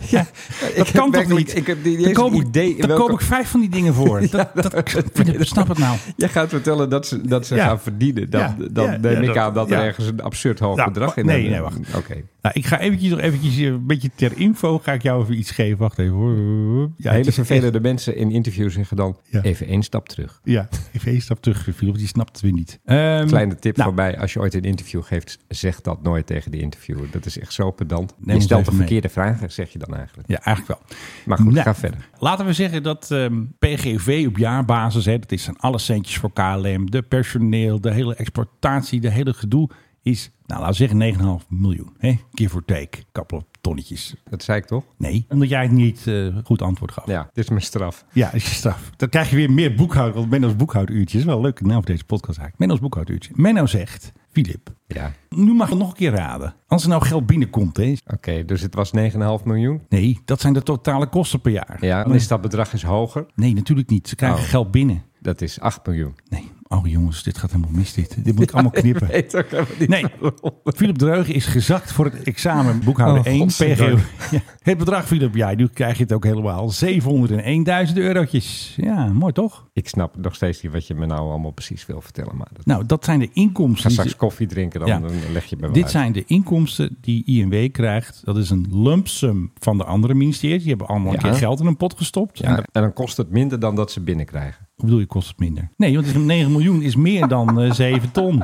[SPEAKER 4] Ja, dat kan
[SPEAKER 5] heb
[SPEAKER 4] toch
[SPEAKER 5] werkelijk-
[SPEAKER 4] niet?
[SPEAKER 5] ik heb niet
[SPEAKER 4] Daar
[SPEAKER 5] eens
[SPEAKER 4] koop
[SPEAKER 5] een
[SPEAKER 4] ik-
[SPEAKER 5] idee in
[SPEAKER 4] Daar
[SPEAKER 5] welke-
[SPEAKER 4] koop ik vijf van die dingen voor. dat, dat, snap het nou.
[SPEAKER 5] Jij gaat vertellen dat ze, dat ze
[SPEAKER 4] Ja.
[SPEAKER 5] gaan verdienen. Dan,
[SPEAKER 4] Ja,
[SPEAKER 5] dan
[SPEAKER 4] ja,
[SPEAKER 5] neem
[SPEAKER 4] ja,
[SPEAKER 5] ik
[SPEAKER 4] dat-
[SPEAKER 5] aan dat er
[SPEAKER 4] ja.
[SPEAKER 5] ergens een absurd hoog
[SPEAKER 4] Ja,
[SPEAKER 5] bedrag in
[SPEAKER 4] nee,
[SPEAKER 5] hebben.
[SPEAKER 4] nee, wacht.
[SPEAKER 5] Oké.
[SPEAKER 4] Nou, ik ga eventjes nog eventjes eh, een beetje ter info ga ik jou even iets geven. Wacht even hoor. Ja, het
[SPEAKER 5] Hele
[SPEAKER 4] is
[SPEAKER 5] vervelende
[SPEAKER 4] echt-
[SPEAKER 5] mensen in interviews zeggen dan
[SPEAKER 4] Ja.
[SPEAKER 5] even één stap terug.
[SPEAKER 4] Ja, even één stap terug, Philip. Die snapt het weer niet. Ehm,
[SPEAKER 5] Kleine tip
[SPEAKER 4] nou,
[SPEAKER 5] van mij, als je ooit een interview geeft, zeg dat nooit tegen de interviewer. Dat is echt zo pedant.
[SPEAKER 4] Neem
[SPEAKER 5] je
[SPEAKER 4] ons
[SPEAKER 5] stelt de
[SPEAKER 4] even mee.
[SPEAKER 5] verkeerde vragen, zeg je dan eigenlijk.
[SPEAKER 4] Ja, eigenlijk wel.
[SPEAKER 5] Maar goed,
[SPEAKER 4] Nou,
[SPEAKER 5] ga verder.
[SPEAKER 4] Laten we zeggen dat ehm, PGV op jaarbasis, hè, dat is zijn alle centjes voor KLM, de personeel, de hele exportatie, de hele gedoe, is, nou laten we zeggen 9,5 miljoen. Hè? Give or take, couple of tonnetjes.
[SPEAKER 5] Dat zei ik toch?
[SPEAKER 4] Nee, omdat jij het niet eh, goed antwoord gaf.
[SPEAKER 5] Ja, dit is mijn straf.
[SPEAKER 4] Ja, dat is je straf. Dan krijg je weer meer boekhoud, want Menno's boekhouduurtje is wel een leuke naam voor deze podcast eigenlijk. Menno's boekhouduurtje. Menno zegt, Filip,
[SPEAKER 5] Ja,
[SPEAKER 4] nu mag je nog een keer raden. Als er nou geld binnenkomt, hè?
[SPEAKER 5] oké. dus het was 9,5 miljoen.
[SPEAKER 4] Nee, dat zijn de totale kosten per jaar.
[SPEAKER 5] Ja, dan is dat bedrag eens hoger.
[SPEAKER 4] Nee, natuurlijk niet. Ze krijgen
[SPEAKER 5] Oh.
[SPEAKER 4] geld binnen.
[SPEAKER 5] Dat is 8 miljoen.
[SPEAKER 4] Nee, oh jongens, dit gaat helemaal mis dit. Dit moet ik allemaal knippen.
[SPEAKER 5] Weet ook helemaal niet
[SPEAKER 4] Nee,
[SPEAKER 5] waarom.
[SPEAKER 4] Philip Dreugen is gezakt voor het examen boekhouder
[SPEAKER 5] Oh,
[SPEAKER 4] 1. PGO.
[SPEAKER 5] godzijdank.
[SPEAKER 4] Ja. Het bedrag, Philip, ja, nu krijg je het ook helemaal. 701.000 eurotjes. Ja, mooi toch?
[SPEAKER 5] Ik snap nog steeds niet wat je me nou allemaal precies wil vertellen. Maar dat...
[SPEAKER 4] Nou, dat zijn de
[SPEAKER 5] Ga
[SPEAKER 4] inkomsten. die
[SPEAKER 5] straks
[SPEAKER 4] ze-
[SPEAKER 5] koffie drinken, dan,
[SPEAKER 4] Ja.
[SPEAKER 5] dan leg je bij me
[SPEAKER 4] Dit
[SPEAKER 5] uit.
[SPEAKER 4] zijn de inkomsten die INW krijgt. Dat is een lump sum van de andere ministeries. Die hebben allemaal een
[SPEAKER 5] Ja.
[SPEAKER 4] keer geld in een pot gestopt. En
[SPEAKER 5] Ja, en dan kost het minder dan dat ze binnenkrijgen.
[SPEAKER 4] Hoe bedoel je, kost het minder? Nee, want het is 9 miljoen is meer dan eh 7 ton.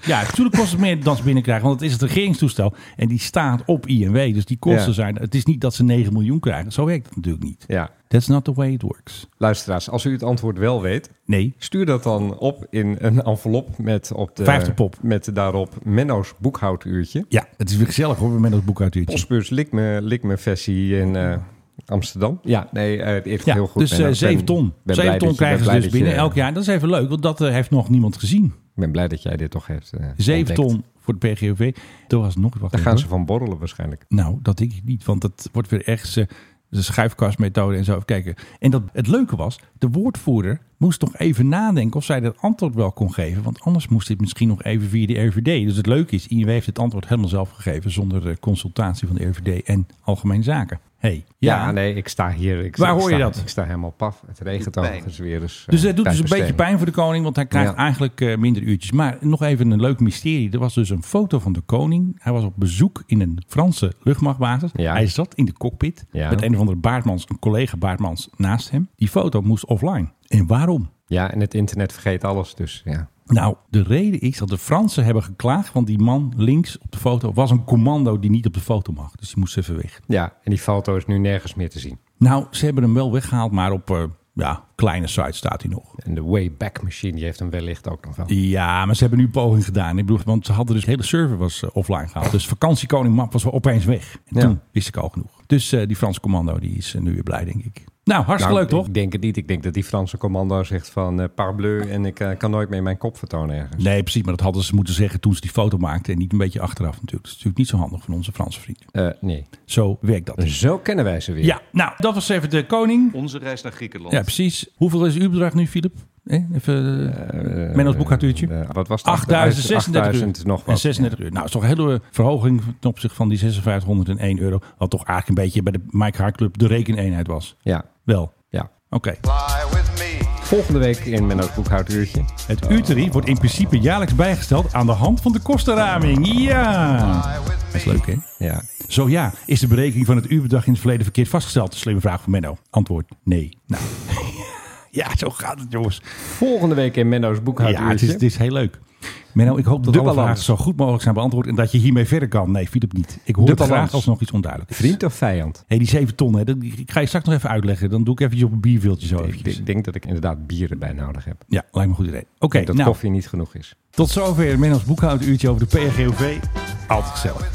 [SPEAKER 4] Ja, natuurlijk kost het meer dan ze binnenkrijgen, want het is het regeringstoestel. En die staat op INW, dus die kosten
[SPEAKER 5] Ja.
[SPEAKER 4] zijn... Het is niet dat ze 9 miljoen krijgen. Zo werkt het natuurlijk niet.
[SPEAKER 5] Ja.
[SPEAKER 4] That's not the way it works.
[SPEAKER 5] Luisteraars, als u het antwoord wel weet,
[SPEAKER 4] Nee,
[SPEAKER 5] stuur dat dan op in een envelop met op de
[SPEAKER 4] Vijfde pop.
[SPEAKER 5] Met daarop Menno's boekhouduurtje.
[SPEAKER 4] ja, het is weer gezellig hoor, met ons boekhoudtuurtje.
[SPEAKER 5] Postbeurs Likme, Likme versie in eh, Amsterdam. Ja, nee, eh, het echt
[SPEAKER 4] Ja,
[SPEAKER 5] heel goed.
[SPEAKER 4] dus
[SPEAKER 5] Menno.
[SPEAKER 4] eh
[SPEAKER 5] Ik
[SPEAKER 4] 7
[SPEAKER 5] ben-
[SPEAKER 4] ton.
[SPEAKER 5] ben
[SPEAKER 4] 7 ton
[SPEAKER 5] blij dat je- ben
[SPEAKER 4] krijgen ze
[SPEAKER 5] blij
[SPEAKER 4] dus
[SPEAKER 5] dat je-
[SPEAKER 4] binnen elk jaar. Dat is even leuk, want dat eh, heeft nog niemand gezien.
[SPEAKER 5] Ik ben blij dat jij dit toch hebt. eh,
[SPEAKER 4] 7
[SPEAKER 5] ontdekt.
[SPEAKER 4] ton Mhm. voor de PGOV. Dat was nog wat. dus
[SPEAKER 5] Daar gaan ze van borrelen waarschijnlijk.
[SPEAKER 4] Nou, dat denk ik niet, want dat wordt weer echt eh, de schuifkastmethode en zo. Even kijken. En dat, het leuke was, de woordvoerder moest nog even nadenken of zij dat antwoord wel kon geven. Want anders moest dit misschien nog even via de RVD. Dus het leuke is, INW heeft het antwoord helemaal zelf gegeven zonder eh, consultatie van de RVD en Algemeen Zaken. hey,
[SPEAKER 5] Ja,
[SPEAKER 4] ja.
[SPEAKER 5] nee, ik sta hier. Ik,
[SPEAKER 4] Waar
[SPEAKER 5] ik
[SPEAKER 4] hoor je
[SPEAKER 5] sta-
[SPEAKER 4] dat?
[SPEAKER 5] Ik sta helemaal paf. Het regent
[SPEAKER 3] pijn.
[SPEAKER 5] overigens weer eens. eh,
[SPEAKER 4] Dus dat doet dus een
[SPEAKER 5] tijdens
[SPEAKER 4] beetje
[SPEAKER 5] stemming.
[SPEAKER 4] pijn voor de koning, want hij krijgt
[SPEAKER 5] Ja.
[SPEAKER 4] eigenlijk eh, minder uurtjes. Maar nog even een leuk mysterie. Er was dus een foto van de koning. Hij was op bezoek in een Franse luchtmachtbasis.
[SPEAKER 5] Ja.
[SPEAKER 4] Hij zat in de cockpit
[SPEAKER 5] Ja.
[SPEAKER 4] met een of andere baardmans, een collega baardmans naast hem. Die foto moest offline. En waarom?
[SPEAKER 5] Ja, en het internet vergeet alles. Dus ja.
[SPEAKER 4] Nou, de reden is dat de Fransen hebben geklaagd, want die man links op de foto was een commando die niet op de foto mag. Dus die moest even weg.
[SPEAKER 5] ja, en die foto is nu nergens meer te zien.
[SPEAKER 4] Nou, ze hebben hem wel weggehaald, maar op eh, ja, kleine site staat hij nog.
[SPEAKER 5] En de Wayback Machine, die heeft hem wellicht ook nog wel.
[SPEAKER 4] Ja, maar ze hebben nu poging gedaan. Ik bedoel, want ze hadden dus de hele server was eh, offline gehaald. Dus vakantiekoning map was wel opeens weg. En
[SPEAKER 5] Ja.
[SPEAKER 4] toen wist ik al genoeg. Dus eh, die Franse commando die is eh, nu weer blij, denk ik. Nou, hartstikke
[SPEAKER 5] Nou,
[SPEAKER 4] leuk toch?
[SPEAKER 5] Ik denk het niet. Ik denk dat die Franse commando zegt van eh, parbleu en ik eh, kan nooit meer mijn kop vertonen ergens.
[SPEAKER 4] Nee, precies. Maar dat hadden ze moeten zeggen toen ze die foto maakten. En niet een beetje achteraf natuurlijk. Dat is natuurlijk niet zo handig van onze Franse vrienden.
[SPEAKER 5] Eh, nee.
[SPEAKER 4] Zo werkt dat. dus.
[SPEAKER 5] Zo kennen wij ze weer.
[SPEAKER 4] Ja, nou, dat was even de koning.
[SPEAKER 6] Onze reis naar Griekenland.
[SPEAKER 4] Ja, precies. Hoeveel is uw bedrag nu, Filip? Eh, even eh Menno's boekhoudtuurtje.
[SPEAKER 5] Eh, wat was het?
[SPEAKER 4] 8036 euro.
[SPEAKER 5] 8000 nog wat.
[SPEAKER 4] En 36 euro. Nou, is toch een hele verhoging ten opzichte van die 5601 euro. Wat toch eigenlijk een beetje bij de Mike Hart Club de rekeneenheid was.
[SPEAKER 5] Ja,
[SPEAKER 4] Wel,
[SPEAKER 5] ja.
[SPEAKER 4] oké.
[SPEAKER 5] Volgende week in Menno's boekhouduurtje.
[SPEAKER 4] Het uurtarief wordt in principe jaarlijks bijgesteld aan de hand van de kostenraming. Ja! Dat is leuk, hè?
[SPEAKER 5] Ja.
[SPEAKER 4] Zo ja, is de berekening van het uurbedrag in het verleden verkeerd vastgesteld? Slimme vraag van Menno. Antwoord, nee. Nou, ja, zo gaat het, jongens.
[SPEAKER 5] Volgende week in Menno's boekhouduurtje.
[SPEAKER 4] Ja, het is, het is heel leuk. Menno, ik hoop dat
[SPEAKER 5] De
[SPEAKER 4] alle
[SPEAKER 5] balans.
[SPEAKER 4] vragen zo goed mogelijk zijn beantwoord en dat je hiermee verder kan. Nee, Filip niet. Ik hoor
[SPEAKER 5] De
[SPEAKER 4] het graag
[SPEAKER 5] balans.
[SPEAKER 4] als er nog iets onduidelijk is.
[SPEAKER 5] Vriend of vijand?
[SPEAKER 4] Hé, die 7 ton, hè, dat, ik ga je straks nog even uitleggen. Dan doe ik eventjes op een bierviltje zo
[SPEAKER 5] Ik
[SPEAKER 4] eventjes.
[SPEAKER 5] denk- denk dat ik inderdaad bieren bij nodig heb.
[SPEAKER 4] Ja, lijkt me een goed idee. Oké,
[SPEAKER 5] dat
[SPEAKER 4] nou,
[SPEAKER 5] koffie niet genoeg is.
[SPEAKER 4] tot zover Menno's boekhouduurtje over de PGOV. Altijd gezellig.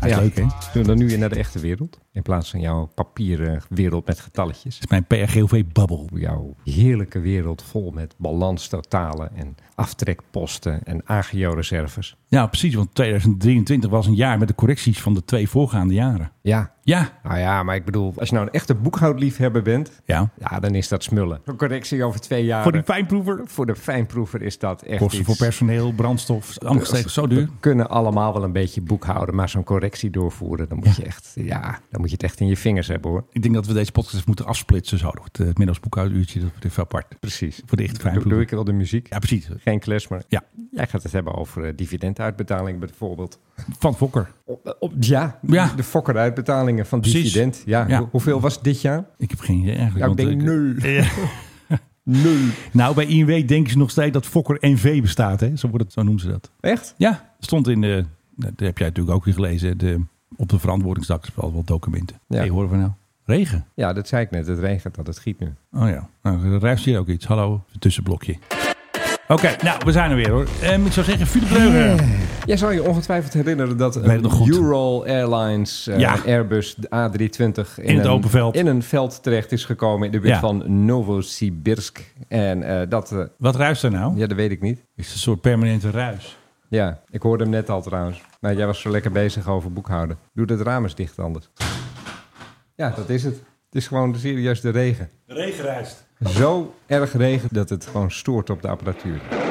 [SPEAKER 4] Hij is leuk, hè? Het
[SPEAKER 5] Doe dan nu weer naar de echte wereld. In plaats van jouw papieren wereld met getalletjes.
[SPEAKER 4] is mijn PGOV-babbel.
[SPEAKER 5] Jouw heerlijke wereld vol met balanstotalen en aftrekposten en AGO-reserves.
[SPEAKER 4] Ja, precies, want 2023 was een jaar met de correcties van de twee voorgaande jaren.
[SPEAKER 5] Ja,
[SPEAKER 4] Ja,
[SPEAKER 5] nou ja, maar ik bedoel, als je nou een echte boekhoudliefhebber bent,
[SPEAKER 4] ja.
[SPEAKER 5] ja, dan is dat smullen. Een correctie over twee jaar.
[SPEAKER 4] Voor die fijnproever.
[SPEAKER 5] Voor de fijnproever is dat echt
[SPEAKER 4] Kosten
[SPEAKER 5] iets-
[SPEAKER 4] voor personeel, brandstof, allemaal gestegen, zo duur.
[SPEAKER 5] We kunnen allemaal wel een beetje boekhouden, maar zo'n correctie doorvoeren, dan moet, je echt, ja, dan moet je het echt in je vingers hebben hoor.
[SPEAKER 4] Ik denk dat we deze podcast moeten afsplitsen. Zo. Het, het middagsboekhouduurtje, dat wordt even apart.
[SPEAKER 5] Precies.
[SPEAKER 4] Voor de echte
[SPEAKER 5] Doe, doe
[SPEAKER 4] fijnproever.
[SPEAKER 5] ik wel de muziek?
[SPEAKER 4] Ja, precies.
[SPEAKER 5] Geen klesmer.
[SPEAKER 4] Ja,
[SPEAKER 5] Jij gaat het hebben over eh, dividenduitbetaling bijvoorbeeld.
[SPEAKER 4] van Fokker.
[SPEAKER 5] Op, op- ja,
[SPEAKER 4] Ja.
[SPEAKER 5] de fokkeruitbetalingen van
[SPEAKER 4] Precies.
[SPEAKER 5] dividend. Ja,
[SPEAKER 4] Ja.
[SPEAKER 5] hoe- hoeveel was het dit jaar?
[SPEAKER 4] Ik heb geen idee eigenlijk.
[SPEAKER 5] Nou, ik
[SPEAKER 4] want
[SPEAKER 5] denk
[SPEAKER 4] ik-
[SPEAKER 5] nul.
[SPEAKER 4] Ja.
[SPEAKER 5] Nul.
[SPEAKER 4] Nou, bij INW denken ze nog steeds dat Fokker NV bestaat. Hè? Zo, wordt het, zo noemen ze dat.
[SPEAKER 5] Echt?
[SPEAKER 4] Ja, stond in de... nou, Dat heb jij natuurlijk ook weer gelezen. De, op de verantwoordingsdag is wel wat documenten.
[SPEAKER 5] Ja.
[SPEAKER 4] Hey, horen we nou? Regen.
[SPEAKER 5] Ja, dat zei ik net. Het regent dat, het giet nu.
[SPEAKER 4] Oh ja, nou, er ruist hier ook iets. Hallo, tussenblokje. Oké, nou, we zijn er weer hoor. En ik zou zeggen, Philip Breuger.
[SPEAKER 5] Jij zal je ongetwijfeld herinneren dat eh,
[SPEAKER 4] weet het nog goed.
[SPEAKER 5] Ural Airlines eh,
[SPEAKER 4] Ja.
[SPEAKER 5] Airbus A320 in,
[SPEAKER 4] het
[SPEAKER 5] een,
[SPEAKER 4] open veld.
[SPEAKER 5] in een veld terecht is gekomen in de buurt
[SPEAKER 4] Ja.
[SPEAKER 5] van Novosibirsk. En eh, dat, eh,
[SPEAKER 4] Wat ruist er nou?
[SPEAKER 5] ja, dat weet ik niet.
[SPEAKER 4] Is een soort permanente ruis.
[SPEAKER 5] Ja, ik hoorde hem net al trouwens. Maar jij was zo lekker bezig over boekhouden. Doe dat raam eens dicht anders. Ja, dat is het. Het is gewoon serieus de regen.
[SPEAKER 6] Regenrijst.
[SPEAKER 5] Zo erg regen dat het gewoon stoort op de apparatuur. Nou,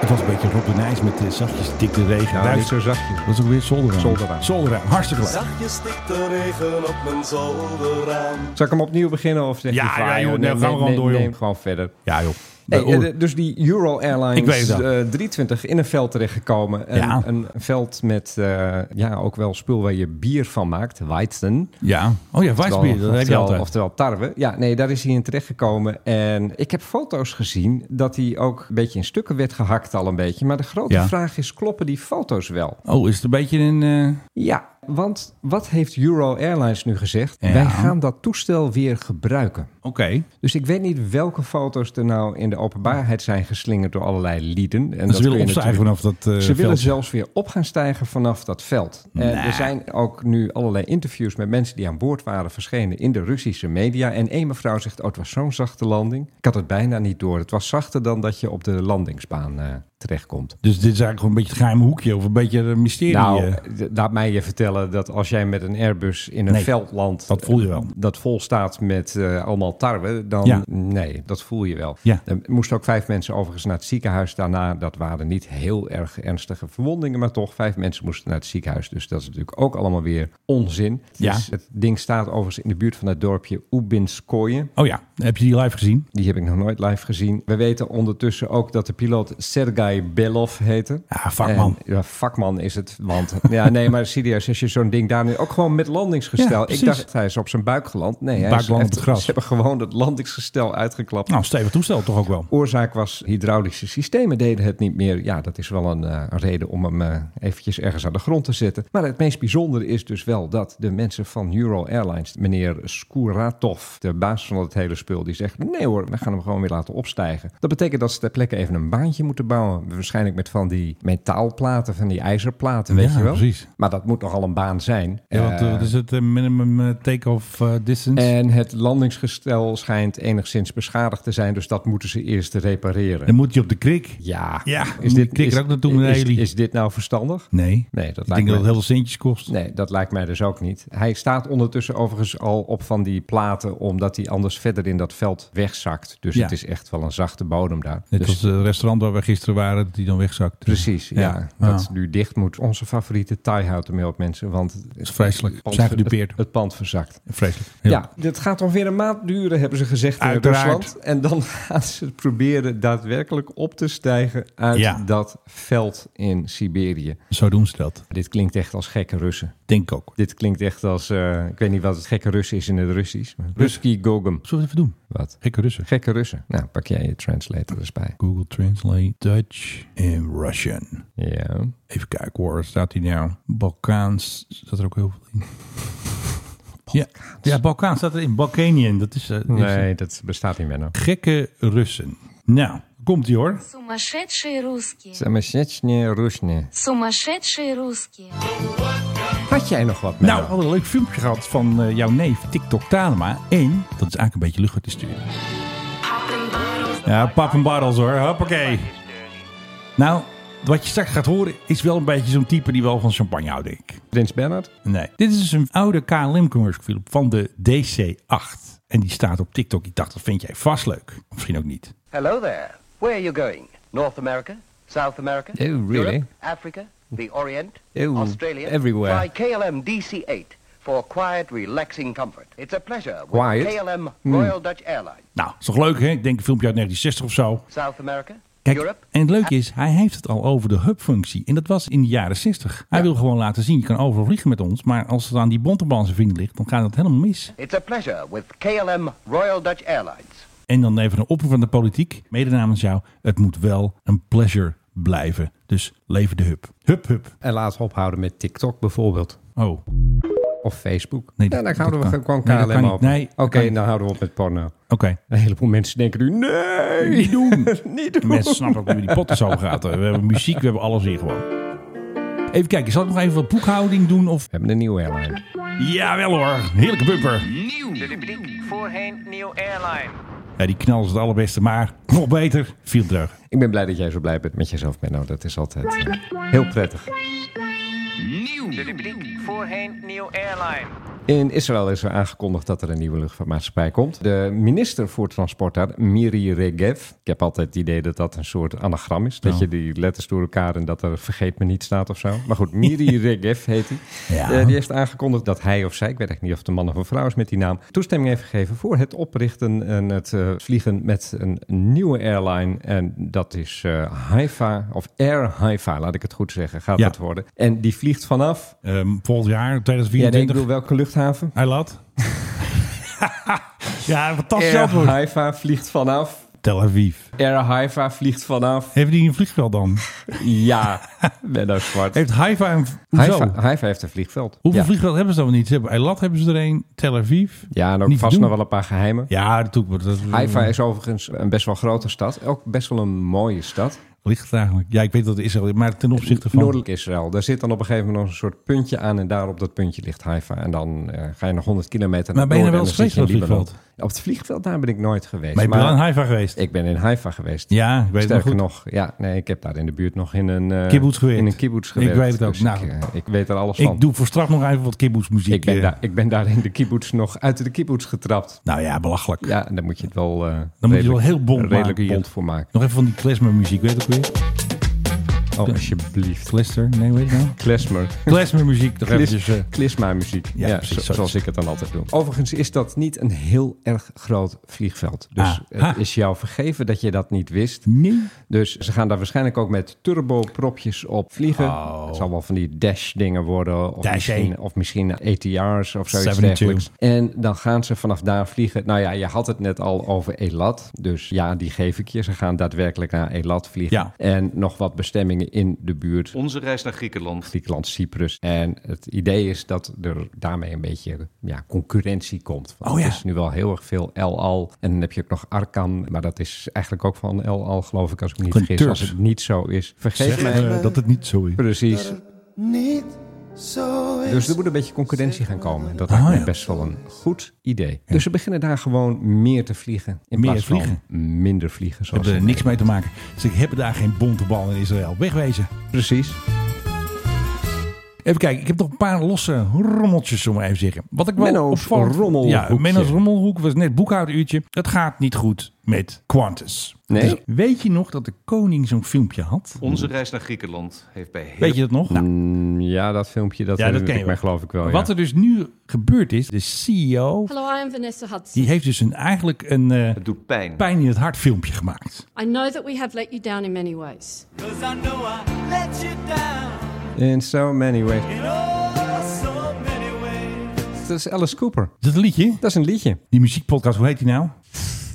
[SPEAKER 4] Het was een beetje Robin Nijs met eh, zachtjes dikke regen.
[SPEAKER 5] Nou, niet
[SPEAKER 4] Luister,
[SPEAKER 5] zo zachtjes.
[SPEAKER 4] dat is ook weer Zolderraam.
[SPEAKER 5] Zolderraam.
[SPEAKER 4] Zolderraam, hartstikke leuk.
[SPEAKER 6] Zachtjes stikt de regen op mijn zolderraam.
[SPEAKER 5] Zal ik hem opnieuw beginnen of zeg
[SPEAKER 4] Ja,
[SPEAKER 5] je
[SPEAKER 4] ja,
[SPEAKER 5] van, ah,
[SPEAKER 4] joh, nee,
[SPEAKER 5] neem-
[SPEAKER 4] gaan we gewoon
[SPEAKER 5] neem-
[SPEAKER 4] door, joh.
[SPEAKER 5] Neem gewoon verder.
[SPEAKER 4] Ja joh.
[SPEAKER 5] Nee,
[SPEAKER 4] Bij
[SPEAKER 5] eh,
[SPEAKER 4] Oer-
[SPEAKER 5] de- dus die Euro Airlines
[SPEAKER 4] Ik weet het al.
[SPEAKER 5] eh, 320 in een veld terechtgekomen. Een,
[SPEAKER 4] Ja.
[SPEAKER 5] een veld met eh, ja, ook wel spul waar je bier van maakt, Weizen.
[SPEAKER 4] ja. Oh ja, Weissbier, dat
[SPEAKER 5] Oftewel-
[SPEAKER 4] heb je altijd.
[SPEAKER 5] Oftewel tarwe. Ja, nee, daar is hij in terechtgekomen. En ik heb foto's gezien dat hij ook een beetje in stukken werd gehakt al een beetje. Maar de grote
[SPEAKER 4] Ja.
[SPEAKER 5] vraag is, kloppen die foto's wel?
[SPEAKER 4] Oh, is het een beetje een... eh,
[SPEAKER 5] Ja, want wat heeft Euro Airlines nu gezegd?
[SPEAKER 4] Ja.
[SPEAKER 5] Wij gaan dat toestel weer gebruiken.
[SPEAKER 4] Oké.
[SPEAKER 5] Dus ik weet niet welke foto's er nou in de openbaarheid zijn geslingerd door allerlei lieden. En
[SPEAKER 4] En ze
[SPEAKER 5] kun je
[SPEAKER 4] willen opstijgen
[SPEAKER 5] natuurlijk-
[SPEAKER 4] vanaf dat eh,
[SPEAKER 5] Ze willen
[SPEAKER 4] veld.
[SPEAKER 5] zelfs weer op gaan stijgen vanaf dat veld. En er zijn ook nu allerlei interviews met mensen die aan boord waren verschenen in de Russische media. En één mevrouw zegt, oh het was zo'n zachte landing. Ik had het bijna niet door. Het was zachter dan dat je op de landingsbaan eh, terechtkomt.
[SPEAKER 4] Dus dit is eigenlijk gewoon een beetje het geheime hoekje of een beetje een mysterie.
[SPEAKER 5] Nou,
[SPEAKER 4] eh.
[SPEAKER 5] d- laat mij je vertellen dat als jij met een Airbus in een
[SPEAKER 4] Nee,
[SPEAKER 5] veld landt...
[SPEAKER 4] dat voel je wel.
[SPEAKER 5] Dat vol staat met eh, allemaal tarwe, dan
[SPEAKER 4] Ja.
[SPEAKER 5] nee, dat voel je wel.
[SPEAKER 4] Ja.
[SPEAKER 5] Er moesten ook vijf mensen overigens naar het ziekenhuis daarna. Dat waren niet heel erg ernstige verwondingen, maar toch vijf mensen moesten naar het ziekenhuis. Dus dat is natuurlijk ook allemaal weer onzin.
[SPEAKER 4] Ja.
[SPEAKER 5] Dus het ding staat overigens in de buurt van het dorpje Oebinskoje.
[SPEAKER 4] Oh ja, heb je die live gezien?
[SPEAKER 5] Die heb ik nog nooit live gezien. We weten ondertussen ook dat de piloot Sergei Belov heette.
[SPEAKER 4] Ja, vakman.
[SPEAKER 5] En- ja, vakman is het. Want ja, nee, maar serieus, als je zo'n ding daar nu ook gewoon met
[SPEAKER 4] Ja,
[SPEAKER 5] landingsgestel. ik
[SPEAKER 4] precies.
[SPEAKER 5] dacht, hij is op zijn buik geland. Nee, hij
[SPEAKER 4] Buik
[SPEAKER 5] is,
[SPEAKER 4] land op
[SPEAKER 5] heeft-
[SPEAKER 4] het gras.
[SPEAKER 5] Ze hebben gewoon dat landingsgestel uitgeklapt.
[SPEAKER 4] Nou, stevig toestel toch ook wel.
[SPEAKER 5] Oorzaak was hydraulische systemen deden het niet meer. Ja, dat is wel een eh, een reden om hem eh, eventjes ergens aan de grond te zetten. Maar het meest bijzondere is dus wel dat de mensen van Euro Airlines, meneer Skouratov, de baas van het hele spul, die zegt: nee hoor, we gaan hem gewoon weer laten opstijgen. Dat betekent dat ze ter plekke even een baantje moeten bouwen. Waarschijnlijk met van die metaalplaten, van die ijzerplaten, weet
[SPEAKER 4] Ja,
[SPEAKER 5] je wel.
[SPEAKER 4] precies.
[SPEAKER 5] Maar dat moet nogal een baan zijn.
[SPEAKER 4] Ja, want eh,
[SPEAKER 5] Eh,
[SPEAKER 4] wat is het eh, minimum eh, take-off eh, distance?
[SPEAKER 5] en het landingsgestel schijnt enigszins beschadigd te zijn, dus dat moeten ze eerst repareren.
[SPEAKER 4] Dan moet je op de krik.
[SPEAKER 5] Ja.
[SPEAKER 4] Ja, moet je knikker ook naartoe met een
[SPEAKER 5] is,
[SPEAKER 4] heli.
[SPEAKER 5] is dit nou verstandig?
[SPEAKER 4] Nee,
[SPEAKER 5] Nee, dat
[SPEAKER 4] ik
[SPEAKER 5] lijkt
[SPEAKER 4] denk
[SPEAKER 5] me-
[SPEAKER 4] dat het heel veel centjes kost.
[SPEAKER 5] Nee, dat lijkt mij dus ook niet. Hij staat ondertussen overigens al op van die platen, omdat hij anders verder in dat veld wegzakt. Dus
[SPEAKER 4] Ja.
[SPEAKER 5] het is echt wel een zachte bodem daar.
[SPEAKER 4] Net
[SPEAKER 5] Dus-
[SPEAKER 4] als het restaurant waar we gisteren waren, dat die dan wegzakt.
[SPEAKER 5] Precies, ja.
[SPEAKER 4] Ja.
[SPEAKER 5] Dat
[SPEAKER 4] Ja.
[SPEAKER 5] nu dicht moet. Onze favoriete Thai houdt ermee op, mensen. Want het
[SPEAKER 4] is vreselijk.
[SPEAKER 5] pand
[SPEAKER 4] Zijn
[SPEAKER 5] ver-
[SPEAKER 4] gedupeerd.
[SPEAKER 5] Het, het pand verzakt.
[SPEAKER 4] Vreselijk.
[SPEAKER 5] Ja. dit gaat ongeveer een maand duren, hebben ze gezegd in
[SPEAKER 4] Uiteraard.
[SPEAKER 5] Rusland. En dan gaan ze het proberen daadwerkelijk op te stijgen uit
[SPEAKER 4] Ja.
[SPEAKER 5] dat veld in Siberië.
[SPEAKER 4] Zo doen ze dat.
[SPEAKER 5] Dit klinkt echt als gekke Russen.
[SPEAKER 4] Denk ik ook.
[SPEAKER 5] Dit klinkt echt als, eh, ik weet niet wat het gekke Rus is in het Russisch. maar- Ruski Gogum.
[SPEAKER 4] Zullen we het even doen?
[SPEAKER 5] Wat?
[SPEAKER 4] Gekke Russen.
[SPEAKER 5] Gekke Russen. Nou, pak jij je translator eens bij.
[SPEAKER 4] Google Translate Dutch en Russian.
[SPEAKER 5] Ja.
[SPEAKER 4] Even kijken hoor, staat hij nou? Balkaans, staat er ook heel veel in. Ja, ja, Balkaan staat erin. Balkanian, dat is... eh, is-
[SPEAKER 5] Nee, dat bestaat niet meer nou.
[SPEAKER 4] Gekke Russen. Nou, komt ie hoor.
[SPEAKER 2] Сумасшедшие русские.
[SPEAKER 5] Samashetsjne Rusne.
[SPEAKER 2] Сумасшедшие русские.
[SPEAKER 5] Had jij nog wat,
[SPEAKER 4] Nou,
[SPEAKER 5] Menno?
[SPEAKER 4] we hadden een leuk filmpje gehad van eh, jouw neef TikTok Talema. En, dat is eigenlijk een beetje lucht te sturen. Ja, pap en barrels hoor. Hoppakee. Nou, wat je straks gaat horen is wel een beetje zo'n type die wel van champagne houdt, denk ik.
[SPEAKER 5] Prins Bernhard?
[SPEAKER 4] Nee. Dit is dus een oude KLM commercial film van de DC-8. En die staat op TikTok. Ik dacht, dat vind jij vast leuk. Of Misschien ook niet.
[SPEAKER 3] Hello there. Where are you going? North America? South America?
[SPEAKER 5] Oh, really?
[SPEAKER 3] Europe, Africa? The Orient?
[SPEAKER 5] Oh,
[SPEAKER 3] Australia?
[SPEAKER 5] everywhere.
[SPEAKER 3] Fly KLM DC-8 for quiet, relaxing comfort. It's a pleasure with
[SPEAKER 5] Quiet? Hmm.
[SPEAKER 3] KLM Royal Dutch Airlines.
[SPEAKER 4] Nou, is toch leuk hè? Ik denk een filmpje uit 1960 of zo.
[SPEAKER 3] South America?
[SPEAKER 4] Kijk,
[SPEAKER 3] Europe?
[SPEAKER 4] en het leuke is, hij heeft het al over de hubfunctie. En dat was in de jaren 60. Hij wil gewoon laten zien, je kan overal vliegen met ons. Maar als het aan die bonterbaan zijn vriend ligt, dan gaat dat helemaal mis.
[SPEAKER 3] It's a pleasure with KLM Royal Dutch Airlines.
[SPEAKER 4] En dan even een oproep van de politiek. Mede namens jou, het moet wel een pleasure blijven. Dus leven de hub. Hub, hub.
[SPEAKER 5] En laten we ophouden met TikTok bijvoorbeeld.
[SPEAKER 4] Oh, oké.
[SPEAKER 5] Of Facebook.
[SPEAKER 4] Nee,
[SPEAKER 5] ja,
[SPEAKER 4] dat-
[SPEAKER 5] dan houden we
[SPEAKER 4] dat
[SPEAKER 5] gewoon
[SPEAKER 4] kan- nee,
[SPEAKER 5] gewoon
[SPEAKER 4] dat kan
[SPEAKER 5] KLM
[SPEAKER 4] niet.
[SPEAKER 5] op.
[SPEAKER 4] Nee,
[SPEAKER 5] Oké,
[SPEAKER 4] dat kan niet.
[SPEAKER 5] dan houden we op met porno. Een heleboel mensen denken nu, nee,
[SPEAKER 4] Niet doen.
[SPEAKER 5] niet doen.
[SPEAKER 4] Mensen snappen ook hoe die potten zo gaat. We hebben muziek, we hebben alles hier gewoon. Even kijken, zal ik nog even wat boekhouding doen? Of...
[SPEAKER 5] We hebben een nieuwe airline.
[SPEAKER 4] Jawel hoor, heerlijke bumper.
[SPEAKER 7] De rubriek voorheen Nieuw Airline.
[SPEAKER 4] Ja, die knal is het allerbeste, maar nog beter. Viel terug.
[SPEAKER 5] Ik ben blij dat jij zo blij bent met jezelf, Menno. Dat is altijd eh, heel prettig.
[SPEAKER 7] De rubriek voorheen Nieuw Airline.
[SPEAKER 5] In Israël is er aangekondigd dat er een nieuwe luchtvaartmaatschappij komt. De minister voor Transport daar, Miri Regev. Ik heb altijd het idee dat dat een soort anagram is. Dat
[SPEAKER 4] Ja.
[SPEAKER 5] je die letters door elkaar en dat er vergeet me niet staat of zo. Maar goed, Miri Regev heet hij. Eh,
[SPEAKER 4] Ja.
[SPEAKER 5] die heeft aangekondigd dat hij of zij, ik weet echt niet of het een man of een vrouw is met die naam, toestemming heeft gegeven voor het oprichten en het eh, vliegen met een nieuwe airline. En dat is eh, Haifa, of Air Haifa, laat ik het goed zeggen, gaat
[SPEAKER 4] Ja.
[SPEAKER 5] dat worden. En die vliegt vanaf,
[SPEAKER 4] Ehm, volgend jaar,
[SPEAKER 5] ja, nee, ik
[SPEAKER 4] 2024.
[SPEAKER 5] bedoel welke luchthaven?
[SPEAKER 4] Hij laat. ja, fantastisch
[SPEAKER 5] Air
[SPEAKER 4] antwoord.
[SPEAKER 5] Haifa vliegt vanaf.
[SPEAKER 4] Tel Aviv.
[SPEAKER 5] Air Haifa vliegt vanaf.
[SPEAKER 4] Heeft die een vliegveld dan?
[SPEAKER 5] Ja, Menno Zwart.
[SPEAKER 4] Heeft Haifa een... v- Hoezo?
[SPEAKER 5] Haifa, Haifa heeft een vliegveld.
[SPEAKER 4] Hoeveel
[SPEAKER 5] ja.
[SPEAKER 4] vliegveld hebben ze dan niet? Ze hebben Eilat hebben ze er een, Tel Aviv.
[SPEAKER 5] Ja, en ook
[SPEAKER 4] Niet te
[SPEAKER 5] vast
[SPEAKER 4] doen.
[SPEAKER 5] nog wel een paar geheimen.
[SPEAKER 4] Ja, dat doe ik. Dat,
[SPEAKER 5] Haifa is overigens een best wel grote stad. Ook best wel een mooie stad.
[SPEAKER 4] Ligt het eigenlijk? Ja, ik weet dat Israël... Maar ten opzichte van...
[SPEAKER 5] Noordelijk Israël. Daar zit dan op een gegeven moment nog een soort puntje aan. En daar op dat puntje ligt Haifa. En dan eh, ga je nog 100 kilometer
[SPEAKER 4] Maar ben je
[SPEAKER 5] noorden
[SPEAKER 4] nou
[SPEAKER 5] en
[SPEAKER 4] wel
[SPEAKER 5] dan
[SPEAKER 4] eens
[SPEAKER 5] zit je in
[SPEAKER 4] geweest op het
[SPEAKER 5] Libanon. Op het vliegveld daar ben ik nooit geweest.
[SPEAKER 4] Maar je bent wel in Haifa geweest.
[SPEAKER 5] ik ben in Haifa geweest.
[SPEAKER 4] Ja, ik weet het nog
[SPEAKER 5] Sterker
[SPEAKER 4] goed.
[SPEAKER 5] nog, ja, nee, ik heb daar in de buurt nog in een eh,
[SPEAKER 4] Kibbutz gewerkt.
[SPEAKER 5] In een kibbutz
[SPEAKER 4] Ik
[SPEAKER 5] gewerkt.
[SPEAKER 4] weet het ook.
[SPEAKER 5] Dus
[SPEAKER 4] Nou,
[SPEAKER 5] ik, eh, ik weet er alles van.
[SPEAKER 4] Ik doe voor straf nog even wat kibboetsmuziek.
[SPEAKER 5] ik, ben
[SPEAKER 4] eh.
[SPEAKER 5] daar, ik ben daar in de kibbutz nog uit de kibbutz getrapt.
[SPEAKER 4] Nou ja, belachelijk.
[SPEAKER 5] Ja, en daar moet je het wel, eh,
[SPEAKER 4] Dan moet je
[SPEAKER 5] redelijk-
[SPEAKER 4] het wel heel bond
[SPEAKER 5] redelijk
[SPEAKER 4] maken.
[SPEAKER 5] bond voor maken.
[SPEAKER 4] Nog even van die klezmermuziek, weet ik weer.
[SPEAKER 5] Oh, alsjeblieft.
[SPEAKER 4] Klester, nee, weet je nou?
[SPEAKER 5] Klesmer.
[SPEAKER 4] Klezmermuziek, toch eventjes. eh.
[SPEAKER 5] Klisma-muziek.
[SPEAKER 4] Ja,
[SPEAKER 5] Ja,
[SPEAKER 4] precies,
[SPEAKER 5] zo-
[SPEAKER 4] zoiets.
[SPEAKER 5] zoals ik het dan altijd doe. Overigens is dat niet een heel erg groot vliegveld. Dus
[SPEAKER 4] Ah,
[SPEAKER 5] het
[SPEAKER 4] ha.
[SPEAKER 5] is jou vergeven dat je dat niet wist.
[SPEAKER 4] Nee.
[SPEAKER 5] Dus ze gaan daar waarschijnlijk ook met turbopropjes op vliegen. Het zal wel van die dash-dingen worden. Of
[SPEAKER 4] Oh. Dash,
[SPEAKER 5] misschien,
[SPEAKER 4] hé.
[SPEAKER 5] of misschien ATR's of zoiets
[SPEAKER 4] 72.
[SPEAKER 5] dergelijks. En dan gaan ze vanaf daar vliegen. Nou ja, je had het net al over Elat. Dus ja, die geef ik je. Ze gaan daadwerkelijk naar Elat vliegen.
[SPEAKER 4] Ja.
[SPEAKER 5] En nog wat bestemmingen in de buurt.
[SPEAKER 8] Onze reis naar Griekenland.
[SPEAKER 5] Griekenland, Cyprus. En het idee is dat er daarmee een beetje ja, concurrentie komt. Want
[SPEAKER 4] Oh ja.
[SPEAKER 5] Er is nu wel heel erg veel El Al. En dan heb je ook nog Arkan. Maar dat is eigenlijk ook van El Al, geloof ik, als ik me niet
[SPEAKER 4] Van
[SPEAKER 5] vergis.
[SPEAKER 4] Turks.
[SPEAKER 5] Als het niet zo is. Vergeet
[SPEAKER 4] Zeg
[SPEAKER 5] mij.
[SPEAKER 4] eh, dat het niet zo is.
[SPEAKER 5] Precies.
[SPEAKER 6] Niet zo
[SPEAKER 5] Dus er moet een beetje concurrentie gaan komen. En dat lijkt mij
[SPEAKER 4] Oh ja.
[SPEAKER 5] best wel een goed idee. Dus ze beginnen daar gewoon meer te vliegen. In
[SPEAKER 4] Meer
[SPEAKER 5] plaats van
[SPEAKER 4] vliegen?
[SPEAKER 5] minder vliegen. Zoals
[SPEAKER 4] hebben er
[SPEAKER 5] het
[SPEAKER 4] niks
[SPEAKER 5] heet.
[SPEAKER 4] mee te maken. Dus ik heb daar geen bonte bal in Israël. Wegwezen.
[SPEAKER 5] Precies.
[SPEAKER 4] Even kijken, ik heb nog een paar losse rommeltjes, zullen we even zeggen. Wat ik wel
[SPEAKER 5] Menno's
[SPEAKER 4] opvallend-
[SPEAKER 5] rommelhoekje.
[SPEAKER 4] Ja, Menno's rommelhoek was net boekhouduurtje. Het gaat niet goed met Qantas.
[SPEAKER 5] Nee.
[SPEAKER 4] Dus weet je nog dat de koning zo'n filmpje had?
[SPEAKER 8] Onze reis naar Griekenland heeft bij heel
[SPEAKER 4] Weet je dat nog? Nou,
[SPEAKER 5] Mm, Ja, dat filmpje, dat,
[SPEAKER 4] Ja, dat
[SPEAKER 5] herinner
[SPEAKER 4] ken je wel.
[SPEAKER 5] ik mij geloof ik wel.
[SPEAKER 4] Wat
[SPEAKER 5] ja.
[SPEAKER 4] er dus nu gebeurd is, de CEO,
[SPEAKER 9] Hello, I am Vanessa Hudson.
[SPEAKER 4] die heeft dus een, eigenlijk een eh,
[SPEAKER 8] Het doet pijn.
[SPEAKER 4] pijn in het hart filmpje gemaakt.
[SPEAKER 9] I know that we have let you down in many ways.
[SPEAKER 5] In so many ways. Dat is Alice Cooper.
[SPEAKER 4] Is dat een liedje?
[SPEAKER 5] Dat is een liedje.
[SPEAKER 4] Die muziekpodcast, hoe heet die nou?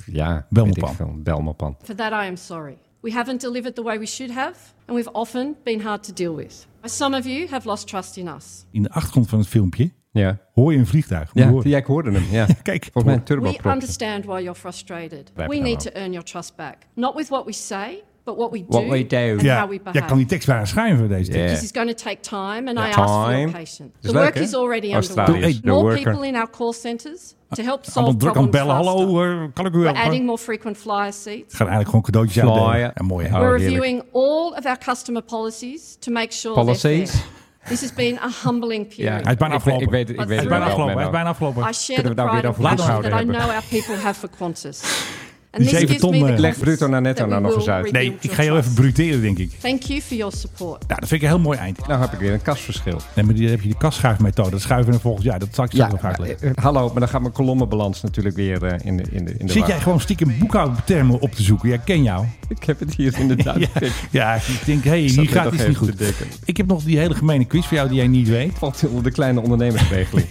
[SPEAKER 5] Ja,
[SPEAKER 4] Belmopan.
[SPEAKER 5] weet ik veel. Belmopan.
[SPEAKER 9] For that, I am sorry. We haven't delivered the way we should have, and we've often been hard to deal with. Some of you have lost trust in us.
[SPEAKER 4] In de achtergrond van het filmpje
[SPEAKER 5] Ja.
[SPEAKER 4] hoor je een vliegtuig. Moet je
[SPEAKER 5] Ja,
[SPEAKER 4] horen.
[SPEAKER 5] ja, ik hoorde hem. Ja.
[SPEAKER 4] kijk.
[SPEAKER 5] Volgens mij een
[SPEAKER 9] We
[SPEAKER 5] turboprop.
[SPEAKER 9] understand why you're frustrated.
[SPEAKER 5] Wrap
[SPEAKER 9] We
[SPEAKER 5] it
[SPEAKER 9] need
[SPEAKER 5] around.
[SPEAKER 9] to earn your trust back, not with what we say, but what we do,
[SPEAKER 5] What we do.
[SPEAKER 9] and
[SPEAKER 4] ja,
[SPEAKER 9] how we
[SPEAKER 4] ja,
[SPEAKER 9] behave.
[SPEAKER 4] kan die tekst waar schrijven, deze tekst.
[SPEAKER 9] This is going to take time, and I ask for
[SPEAKER 5] Time.
[SPEAKER 9] your patience.
[SPEAKER 5] Is
[SPEAKER 9] The
[SPEAKER 5] leuk,
[SPEAKER 9] work
[SPEAKER 5] hè?
[SPEAKER 9] is already
[SPEAKER 5] Australiërs,
[SPEAKER 9] underway.
[SPEAKER 5] de
[SPEAKER 9] More
[SPEAKER 5] worker.
[SPEAKER 9] people in our call centres to help
[SPEAKER 4] Allemaal
[SPEAKER 9] solve
[SPEAKER 4] druk aan het
[SPEAKER 9] problems
[SPEAKER 4] bellen. Hallo,
[SPEAKER 9] faster.
[SPEAKER 4] eh, kan ik u
[SPEAKER 9] We're
[SPEAKER 4] helpen?
[SPEAKER 9] adding more frequent flyer seats.
[SPEAKER 4] Gaan eigenlijk gewoon cadeautjes
[SPEAKER 5] Flyer.
[SPEAKER 4] uitdelen. Ja, mooi hè?
[SPEAKER 5] Oh,
[SPEAKER 9] We're
[SPEAKER 5] heerlijk.
[SPEAKER 9] reviewing all of our customer policies to make sure they're
[SPEAKER 5] Policies?
[SPEAKER 9] fair. This has been a humbling
[SPEAKER 4] Hij
[SPEAKER 9] period.
[SPEAKER 4] is bijna
[SPEAKER 5] Ik weet-
[SPEAKER 4] afgelopen.
[SPEAKER 5] ik weet het- ik
[SPEAKER 4] hij
[SPEAKER 5] weet
[SPEAKER 4] is
[SPEAKER 5] het
[SPEAKER 4] bijna
[SPEAKER 5] wel,
[SPEAKER 4] afgelopen. Hij is
[SPEAKER 5] Menno.
[SPEAKER 4] bijna
[SPEAKER 9] I
[SPEAKER 4] afgeloen.
[SPEAKER 9] share
[SPEAKER 5] Kunnen
[SPEAKER 9] the
[SPEAKER 5] we daar
[SPEAKER 9] pride
[SPEAKER 5] weer
[SPEAKER 9] and
[SPEAKER 5] over
[SPEAKER 9] passion
[SPEAKER 5] opgehouden
[SPEAKER 9] that I
[SPEAKER 5] hebben?
[SPEAKER 9] know our people have for Qantas. And
[SPEAKER 4] zeven
[SPEAKER 9] this gives
[SPEAKER 4] ton,
[SPEAKER 9] me
[SPEAKER 4] eh,
[SPEAKER 9] the
[SPEAKER 4] Leg
[SPEAKER 5] bruto naar netto
[SPEAKER 9] that we
[SPEAKER 5] nou nog
[SPEAKER 9] will
[SPEAKER 5] eens uit.
[SPEAKER 9] rebuild
[SPEAKER 4] Nee,
[SPEAKER 9] your
[SPEAKER 4] ik ga heel even
[SPEAKER 9] trust.
[SPEAKER 4] bruteren, denk ik.
[SPEAKER 9] Thank you for your support.
[SPEAKER 4] Nou, dat vind ik een heel mooi eind.
[SPEAKER 5] Nou heb ik weer een kastverschil.
[SPEAKER 4] Nee, maar die heb je die kastschuifmethode. Dat schuiven naar volgend jaar. Dat zal ik straks nog
[SPEAKER 5] maar,
[SPEAKER 4] uitleggen.
[SPEAKER 5] eh, hallo, maar dan gaat mijn kolommenbalans natuurlijk weer eh, in de, in de, in de
[SPEAKER 4] Zit
[SPEAKER 5] war.
[SPEAKER 4] jij gewoon stiekem boekhoudtermen op te zoeken? Ja, ik ken jou.
[SPEAKER 5] Ik heb het hier inderdaad.
[SPEAKER 4] Ja,
[SPEAKER 5] Het
[SPEAKER 4] ja ik denk, hé, hey,
[SPEAKER 5] zat
[SPEAKER 4] hier
[SPEAKER 5] net
[SPEAKER 4] gaat
[SPEAKER 5] nog
[SPEAKER 4] iets niet
[SPEAKER 5] even te
[SPEAKER 4] goed.
[SPEAKER 5] denken.
[SPEAKER 4] Ik heb nog die hele gemene quiz voor jou die jij niet weet.
[SPEAKER 5] Valt onder de kleine ondernemersregeling.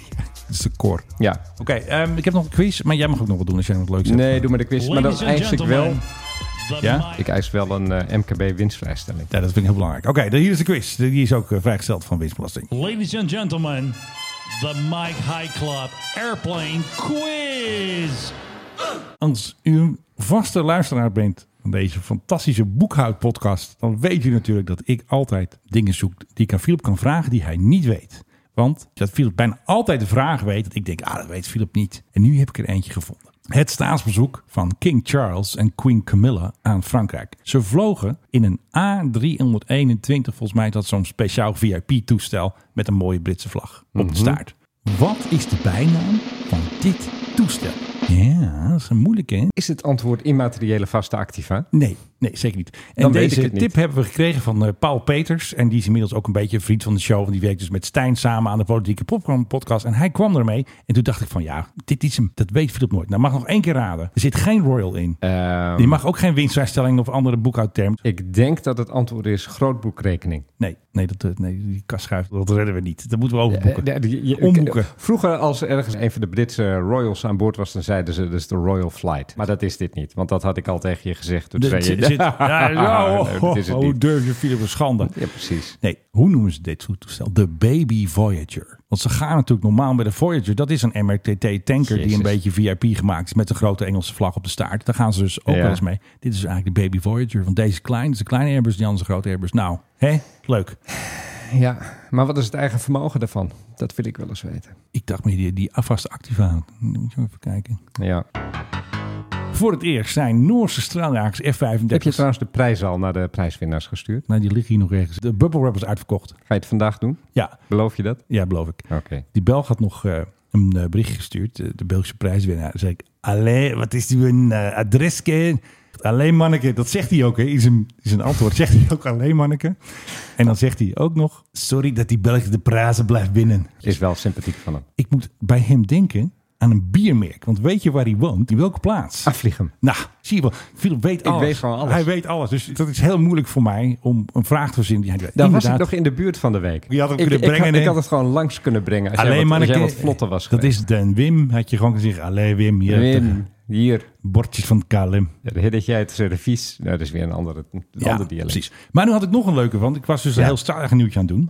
[SPEAKER 4] Dat is de core.
[SPEAKER 5] ja.
[SPEAKER 4] Oké, ehm, ik heb nog een quiz, maar jij mag ook nog wat doen als jij nog wat leuks hebt.
[SPEAKER 5] Nee, doe maar de quiz. Maar dan eis ik wel,
[SPEAKER 4] Ja?
[SPEAKER 5] ik eis wel een eh, MKB-winstvrijstelling.
[SPEAKER 4] ja, dat vind ik heel belangrijk. Oké, dan hier is de quiz. Die is ook eh, vrijgesteld van winstbelasting.
[SPEAKER 10] Ladies and gentlemen, the Mike High Club Airplane Quiz.
[SPEAKER 4] Als u een vaste luisteraar bent van deze fantastische boekhoudpodcast, dan weet u natuurlijk dat ik altijd dingen zoek die ik aan Philip kan vragen die hij niet weet. Want dat Philip bijna altijd de vraag weet, dat ik denk, ah, dat weet Philip niet. En nu heb ik er eentje gevonden. Het staatsbezoek van King Charles en Queen Camilla aan Frankrijk. Ze vlogen in een A321, volgens mij is dat zo'n speciaal VIP-toestel met een mooie Britse vlag op de staart. Wat is de bijnaam van dit toestel? Ja, dat is een moeilijke, hè?
[SPEAKER 5] Is het antwoord immateriële vaste activa?
[SPEAKER 4] Nee, nee, zeker niet. En
[SPEAKER 5] Dan weet
[SPEAKER 4] deze
[SPEAKER 5] ik het niet.
[SPEAKER 4] tip hebben we gekregen van eh, Paul Peters. En die is inmiddels ook een beetje een vriend van de show. Want die werkt dus met Stijn samen aan de Politieke Popcorn podcast. En hij kwam ermee. En toen dacht ik van ja, dit is hem. Dat weet Philip nooit. Nou, mag nog één keer raden. Er zit geen royal in.
[SPEAKER 5] Ehm,
[SPEAKER 4] Je mag ook geen winstrijstelling of andere boekhoudterm.
[SPEAKER 5] ik denk dat het antwoord is grootboekrekening.
[SPEAKER 4] Nee, nee, dat, eh, nee die kastschuif, dat redden we niet. Dat moeten we
[SPEAKER 5] Eh,
[SPEAKER 4] overboeken.
[SPEAKER 5] de- de- je-
[SPEAKER 4] Omboeken.
[SPEAKER 5] Vroeger als ergens een van de Britse royals aan boord was, dan zeiden ze dus de Royal Flight. Maar dat is dit niet, want dat had ik al tegen je gezegd. Toen
[SPEAKER 4] Er
[SPEAKER 5] zei je,
[SPEAKER 4] zit- zit- ja, ja,
[SPEAKER 5] Nee,
[SPEAKER 4] oh,
[SPEAKER 5] dat is het
[SPEAKER 4] oh, Hoe
[SPEAKER 5] niet.
[SPEAKER 4] durf je Philip een schande?
[SPEAKER 5] Ja, precies.
[SPEAKER 4] Nee, hoe noemen ze dit soort toestel? De Baby Voyager. Want ze gaan natuurlijk normaal bij de Voyager. Dat is een MRTT-tanker die een
[SPEAKER 5] Jezus.
[SPEAKER 4] beetje VIP gemaakt is. Met de grote Engelse vlag op de staart. Daar gaan ze dus ook
[SPEAKER 5] Ja.
[SPEAKER 4] wel eens mee. Dit is dus eigenlijk de Baby Voyager. Want deze is klein. Dit is een kleine Airbus. Die andere is een grote Airbus. Nou, hè? Leuk.
[SPEAKER 5] Ja, maar wat is het eigen vermogen daarvan? Dat wil ik wel eens weten.
[SPEAKER 4] Ik dacht meer die, die afvaste activa. Moet je even kijken.
[SPEAKER 5] Ja.
[SPEAKER 4] Voor het eerst zijn Noorse straaljagers
[SPEAKER 5] Heb je
[SPEAKER 4] F-35.
[SPEAKER 5] trouwens de prijs al naar de prijswinnaars gestuurd?
[SPEAKER 4] Nou, die liggen hier nog ergens. De Bubble Wrap is uitverkocht.
[SPEAKER 5] Ga je het vandaag doen?
[SPEAKER 4] Ja,
[SPEAKER 5] Beloof je dat?
[SPEAKER 4] ja beloof ik.
[SPEAKER 5] Oké.
[SPEAKER 4] Die Belg had nog eh, een eh, berichtje gestuurd. eh, de Belgische prijswinnaar. Dan zei ik, allee, wat is die een eh, adreske? Allee manneke, dat zegt hij ook. Hè. In, zijn, in zijn antwoord zegt hij ook alleen manneke. En dan zegt hij ook nog, sorry dat die Belg de prazen blijft binnen.
[SPEAKER 5] Is wel sympathiek van hem.
[SPEAKER 4] Ik moet bij hem denken aan een biermerk. Want weet je waar hij woont? In welke plaats?
[SPEAKER 5] Afvliegen.
[SPEAKER 4] Nou, zie je wel. Philip weet alles.
[SPEAKER 5] Ah. weet gewoon alles.
[SPEAKER 4] Hij weet alles. Dus dat is heel moeilijk voor mij om een vraag te verzinnen die hij niet weet.
[SPEAKER 5] Daar was ik
[SPEAKER 4] Inderdaad.
[SPEAKER 5] nog in de buurt van de week.
[SPEAKER 4] Je had hem kunnen
[SPEAKER 5] Ik- ik, had-
[SPEAKER 4] brengen,
[SPEAKER 5] Ik,
[SPEAKER 4] hè?
[SPEAKER 5] had het gewoon langs kunnen brengen. Als jij
[SPEAKER 4] Alleen
[SPEAKER 5] wat,
[SPEAKER 4] maar
[SPEAKER 5] als
[SPEAKER 4] een
[SPEAKER 5] jij
[SPEAKER 4] keer-
[SPEAKER 5] wat vlotter was
[SPEAKER 4] Dat
[SPEAKER 5] geweest.
[SPEAKER 4] is Den Wim. Had je gewoon gezegd, allee Wim, je hebt de
[SPEAKER 5] Wim, hier.
[SPEAKER 4] bordjes van KLM.
[SPEAKER 5] Ja, dan hit jij het servies. Nou, dat is weer een andere, een ander dialect.
[SPEAKER 4] precies. Maar nu had ik nog een leuke, want ik was dus een
[SPEAKER 5] Ja.
[SPEAKER 4] heel straaljag nieuwtje aan het doen.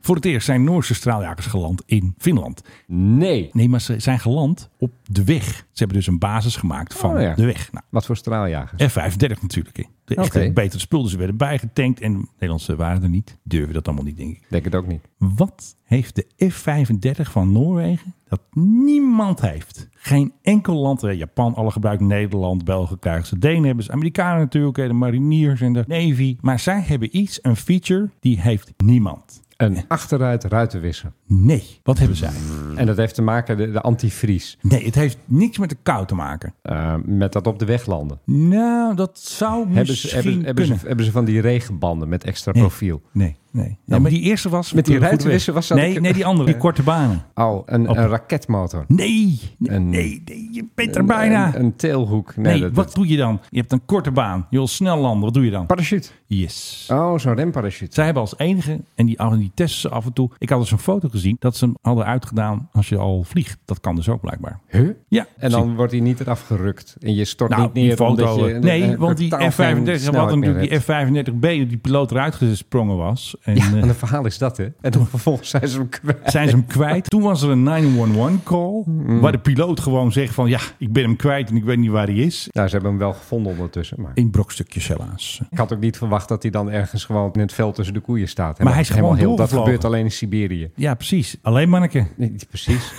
[SPEAKER 4] Voor het eerst zijn Noorse straaljagers geland in Finland.
[SPEAKER 5] Nee.
[SPEAKER 4] Nee, maar ze zijn geland op de weg. Ze hebben dus een basis gemaakt van
[SPEAKER 5] Oh ja.
[SPEAKER 4] de weg. Nou,
[SPEAKER 5] Wat voor straaljagers.
[SPEAKER 4] F-35 natuurlijk. hè. De echte
[SPEAKER 5] Oké.
[SPEAKER 4] betere spul. Dus ze werden bijgetankt en de Nederlandse waren er niet. Durven dat allemaal niet, denk ik.
[SPEAKER 5] Denk het ook niet.
[SPEAKER 4] Wat heeft de F-35 van Noorwegen dat niemand heeft? Geen enkel land, eh, Japan, alle gebruikt Nederland, Belgen krijgen ze, Denen hebben ze, Amerikanen natuurlijk, eh, de mariniers en de Navy. Maar zij hebben iets, een feature, die heeft niemand.
[SPEAKER 5] Een achteruit ruitenwisser.
[SPEAKER 4] Nee, wat hebben zij?
[SPEAKER 5] En dat heeft te maken de, de antivries.
[SPEAKER 4] Nee, het heeft niks met de kou te maken.
[SPEAKER 5] Eh, met dat op de weg landen.
[SPEAKER 4] Nou, dat zou
[SPEAKER 5] Hebben
[SPEAKER 4] misschien
[SPEAKER 5] ze, hebben, hebben, ze,
[SPEAKER 4] kunnen.
[SPEAKER 5] hebben ze van die regenbanden met extra
[SPEAKER 4] Nee.
[SPEAKER 5] profiel? Nou,
[SPEAKER 4] Nee, nee. nee maar die eerste was...
[SPEAKER 5] met die
[SPEAKER 4] op de goede
[SPEAKER 5] ruitenwisser
[SPEAKER 4] weg.
[SPEAKER 5] was dat
[SPEAKER 4] Nee,
[SPEAKER 5] ik-
[SPEAKER 4] nee, die andere. Die korte banen.
[SPEAKER 5] Oh, een,
[SPEAKER 4] Op-
[SPEAKER 5] een raketmotor.
[SPEAKER 4] Nee, nee,
[SPEAKER 5] Een-
[SPEAKER 4] nee, nee, je bent er bijna.
[SPEAKER 5] Een, een teelhoek. Nee,
[SPEAKER 4] Nee,
[SPEAKER 5] dat-
[SPEAKER 4] wat
[SPEAKER 5] dat-
[SPEAKER 4] doe je dan? Je hebt een korte baan. Je wil snel landen. Wat doe je dan?
[SPEAKER 5] Parachute.
[SPEAKER 4] Yes.
[SPEAKER 5] Oh, zo'n remparachute.
[SPEAKER 4] Zij hebben als enige, en die, die testen ze af en toe. Ik had dus een foto gezien dat ze hem hadden uitgedaan als je al vliegt. Dat kan dus ook blijkbaar.
[SPEAKER 5] Huh?
[SPEAKER 4] Ja.
[SPEAKER 5] En
[SPEAKER 4] zie-
[SPEAKER 5] dan wordt hij niet eraf gerukt. En je stort
[SPEAKER 4] nou,
[SPEAKER 5] niet neer
[SPEAKER 4] die foto.
[SPEAKER 5] omdat je...
[SPEAKER 4] eh, nee,
[SPEAKER 5] eh,
[SPEAKER 4] want die
[SPEAKER 5] totaal geen
[SPEAKER 4] F35, we
[SPEAKER 5] snelheid
[SPEAKER 4] hadden
[SPEAKER 5] meer
[SPEAKER 4] natuurlijk die
[SPEAKER 5] hebt.
[SPEAKER 4] F35B, die piloot eruit gesprongen was. En, eh,
[SPEAKER 5] Ja, en het verhaal is dat, hè? En dan vervolgens zijn ze hem kwijt.
[SPEAKER 4] zijn ze hem kwijt. Toen was er een 911 call,
[SPEAKER 5] Mm.
[SPEAKER 4] waar de piloot gewoon zegt van ja, ik ben hem kwijt en ik weet niet waar hij is.
[SPEAKER 5] Nou, ze hebben hem wel gevonden ondertussen. Maar
[SPEAKER 4] In brokstukjes helaas.
[SPEAKER 5] ik had ook niet verwacht dat hij dan ergens gewoon in het veld tussen de koeien staat.
[SPEAKER 4] Maar hij is
[SPEAKER 5] Helemaal
[SPEAKER 4] gewoon
[SPEAKER 5] heel. Dat
[SPEAKER 4] doorgevlogen.
[SPEAKER 5] gebeurt alleen in Siberië.
[SPEAKER 4] Ja, precies. Alleen manneke.
[SPEAKER 5] Nee, niet precies.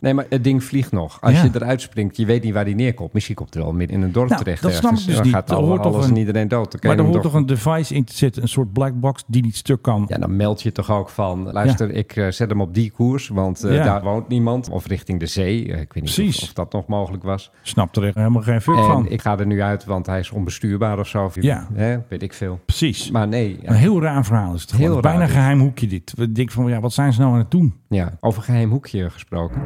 [SPEAKER 5] nee, maar het ding vliegt nog. Als
[SPEAKER 4] Ja.
[SPEAKER 5] je eruit springt, je weet niet waar die neerkomt. Misschien komt hij wel midden in een dorp
[SPEAKER 4] Nou,
[SPEAKER 5] terecht.
[SPEAKER 4] dat snap
[SPEAKER 5] ergens.
[SPEAKER 4] ik dus
[SPEAKER 5] dan
[SPEAKER 4] niet.
[SPEAKER 5] gaat
[SPEAKER 4] Er
[SPEAKER 5] alle-
[SPEAKER 4] hoort toch
[SPEAKER 5] alles
[SPEAKER 4] een-
[SPEAKER 5] niet iedereen dood. Dan kan
[SPEAKER 4] Maar
[SPEAKER 5] je
[SPEAKER 4] er
[SPEAKER 5] hem
[SPEAKER 4] hoort
[SPEAKER 5] toch-
[SPEAKER 4] toch een device in te zitten, een soort black box die niet stuk kan.
[SPEAKER 5] Ja, dan meld je toch ook van, luister, ik eh, zet hem op die koers, want eh,
[SPEAKER 4] Ja.
[SPEAKER 5] daar woont niemand. Of richting de zee, Eh, ik weet niet
[SPEAKER 4] Precies.
[SPEAKER 5] of, of dat nog mogelijk was.
[SPEAKER 4] Snapt er echt helemaal geen fuck
[SPEAKER 5] en
[SPEAKER 4] van.
[SPEAKER 5] ik ga er nu uit, want hij is onbestuurbaar of zo.
[SPEAKER 4] Ja.
[SPEAKER 5] Hè, weet ik veel.
[SPEAKER 4] Precies.
[SPEAKER 5] Maar nee, ja.
[SPEAKER 4] Een heel raar verhaal is het.
[SPEAKER 5] Heel
[SPEAKER 4] Heel
[SPEAKER 5] raar
[SPEAKER 4] Bijna
[SPEAKER 5] is.
[SPEAKER 4] geheim hoekje dit. We denken van, ja, wat zijn ze nou aan het doen?
[SPEAKER 5] Ja, over geheim hoekje gesproken.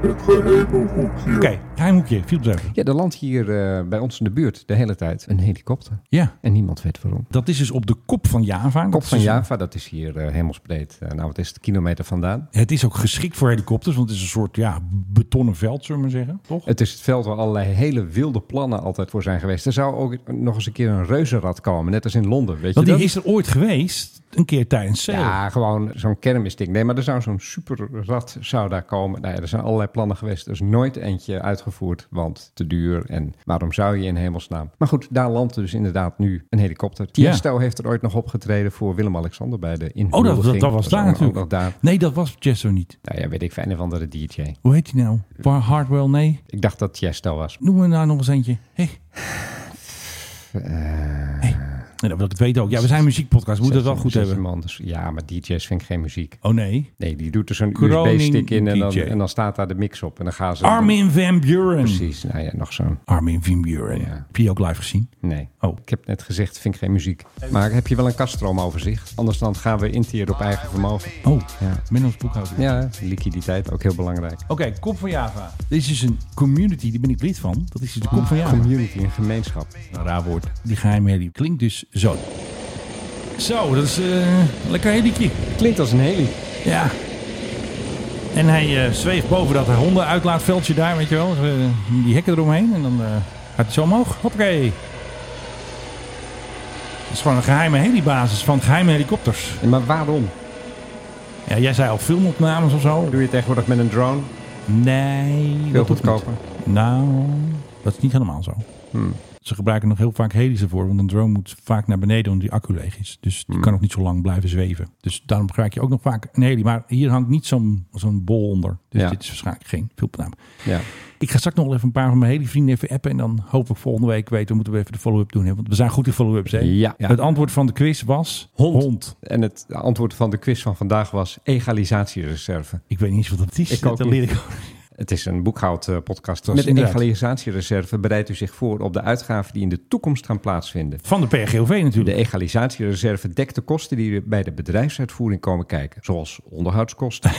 [SPEAKER 4] Oké, geheim hoekje. Viel betreft.
[SPEAKER 5] Ja, er landt hier eh, bij ons in de buurt de hele tijd een helikopter.
[SPEAKER 4] Ja,
[SPEAKER 5] En niemand weet waarom.
[SPEAKER 4] dat is dus op de kop van Java. Dat
[SPEAKER 5] Kop
[SPEAKER 4] is
[SPEAKER 5] van
[SPEAKER 4] dus-
[SPEAKER 5] Java, dat is hier eh, hemelsbreed. eh, nou, wat is het, kilometer vandaan?
[SPEAKER 4] Het is ook geschikt voor helikopters, want het is een soort ja, betonnen veld, zullen we maar zeggen. Toch?
[SPEAKER 5] Het is het veld waar allerlei hele wilde plannen altijd voor zijn geweest. Er zou ook nog eens een keer een reuzenrad komen, net als in Londen. Weet
[SPEAKER 4] Want
[SPEAKER 5] je
[SPEAKER 4] die
[SPEAKER 5] dat?
[SPEAKER 4] is er ooit geweest, een keer tijdens sale.
[SPEAKER 5] Ja, gewoon zo'n kermisding. Nee, maar er zou zo'n superrad zou daar komen. Nou ja, er zijn allerlei plannen geweest. Er is nooit eentje uitgevoerd, want te duur. En waarom zou je in hemelsnaam? Maar goed, daar landt dus inderdaad nu een helikopter. Tiesto heeft er ooit nog opgetreden voor Willem-Alexander bij de
[SPEAKER 4] oh,
[SPEAKER 5] inhuldiging.
[SPEAKER 4] dat, dat, dat was daar
[SPEAKER 5] ook
[SPEAKER 4] natuurlijk.
[SPEAKER 5] nog daar.
[SPEAKER 4] Nee, dat was Chesto niet.
[SPEAKER 5] Nou ja, weet ik veel, een of andere DJ.
[SPEAKER 4] Hoe heet die nou? Bar Hardwell, nee.
[SPEAKER 5] Ik dacht dat Tiesto was. Eh.
[SPEAKER 4] Noem er nou nog eens eentje. Hey. Nee, dat wil ik het weten ook. Ja, we zijn een muziekpodcast. We moeten het wel goed
[SPEAKER 5] Zet je
[SPEAKER 4] hebben.
[SPEAKER 5] hem anders. dus- Ja, maar DJ's vind ik geen muziek.
[SPEAKER 4] Oh nee.
[SPEAKER 5] Nee, die doet er zo'n
[SPEAKER 4] Kroning
[SPEAKER 5] USB-stick in en dan,
[SPEAKER 4] DJ.
[SPEAKER 5] en dan staat daar de mix op. En dan gaan ze...
[SPEAKER 4] Armin van Buren.
[SPEAKER 5] Precies, nou ja, nog zo'n...
[SPEAKER 4] Armin van Buren.
[SPEAKER 5] Ja.
[SPEAKER 4] Heb je die ook live gezien?
[SPEAKER 5] Nee.
[SPEAKER 4] Oh.
[SPEAKER 5] Ik heb net gezegd, vind ik geen muziek. Maar heb je wel een kastroomoverzicht? Anders dan gaan we interen op eigen vermogen.
[SPEAKER 4] Oh,
[SPEAKER 5] Ja.
[SPEAKER 4] met ons boekhouder.
[SPEAKER 5] Ja, liquiditeit, ook heel belangrijk.
[SPEAKER 4] Oké, Kop van Java. Dit is een community, daar ben ik lid van. Dat is dus de Kop
[SPEAKER 5] Ah,
[SPEAKER 4] van Java.
[SPEAKER 5] Community, een gemeenschap.
[SPEAKER 4] Een raar woord. Die geheimherrie klinkt dus zo. Zo, dat is eh, een lekker heliekje.
[SPEAKER 5] Klinkt als een heli.
[SPEAKER 4] Ja. En hij eh zweeft boven dat hondenuitlaatveldje daar, weet je wel. Eh, die hekken eromheen en dan eh, gaat hij zo omhoog. Hoppakee. Dat is gewoon een geheime helibasis van geheime helikopters.
[SPEAKER 5] Ja, Maar waarom?
[SPEAKER 4] Ja, jij zei al filmopnames of zo.
[SPEAKER 5] Doe je het tegenwoordig met een drone?
[SPEAKER 4] Nee.
[SPEAKER 5] Veel
[SPEAKER 4] dat hoeft niet.
[SPEAKER 5] goedkoper. Hmm.
[SPEAKER 4] Nou, dat is niet helemaal zo. Ze gebruiken nog heel vaak heli's ervoor, want een drone moet vaak naar beneden omdat die accu leeg is. Dus
[SPEAKER 5] Hmm.
[SPEAKER 4] die kan nog niet zo lang blijven zweven. Dus daarom gebruik je ook nog vaak een heli. Maar hier hangt niet zo'n zo'n bol onder. Dus
[SPEAKER 5] Ja.
[SPEAKER 4] dit is waarschijnlijk geen filmpnaam.
[SPEAKER 5] Ja.
[SPEAKER 4] Ik ga straks nog wel even een paar van mijn heli-vrienden even appen. En dan hoop ik volgende week weten, we moeten we even de follow-up doen. Hè? Want we zijn goed in follow-ups. Hè?
[SPEAKER 5] Ja. Ja.
[SPEAKER 4] Het antwoord van de quiz was hond.
[SPEAKER 5] En het antwoord van de quiz van vandaag was egalisatiereserve.
[SPEAKER 4] Ik weet niet eens wat dat is.
[SPEAKER 5] Ik ook
[SPEAKER 4] Dat
[SPEAKER 5] niet.
[SPEAKER 4] leer ik
[SPEAKER 5] Het is een eh, boekhoudpodcast.
[SPEAKER 4] Dat is
[SPEAKER 5] Met een
[SPEAKER 4] inderdaad.
[SPEAKER 5] egalisatiereserve bereidt u zich voor op de uitgaven die in de toekomst gaan plaatsvinden.
[SPEAKER 4] Van de PRGOV
[SPEAKER 5] De
[SPEAKER 4] natuurlijk.
[SPEAKER 5] egalisatiereserve dekt de kosten die bij de bedrijfsuitvoering komen kijken, zoals onderhoudskosten.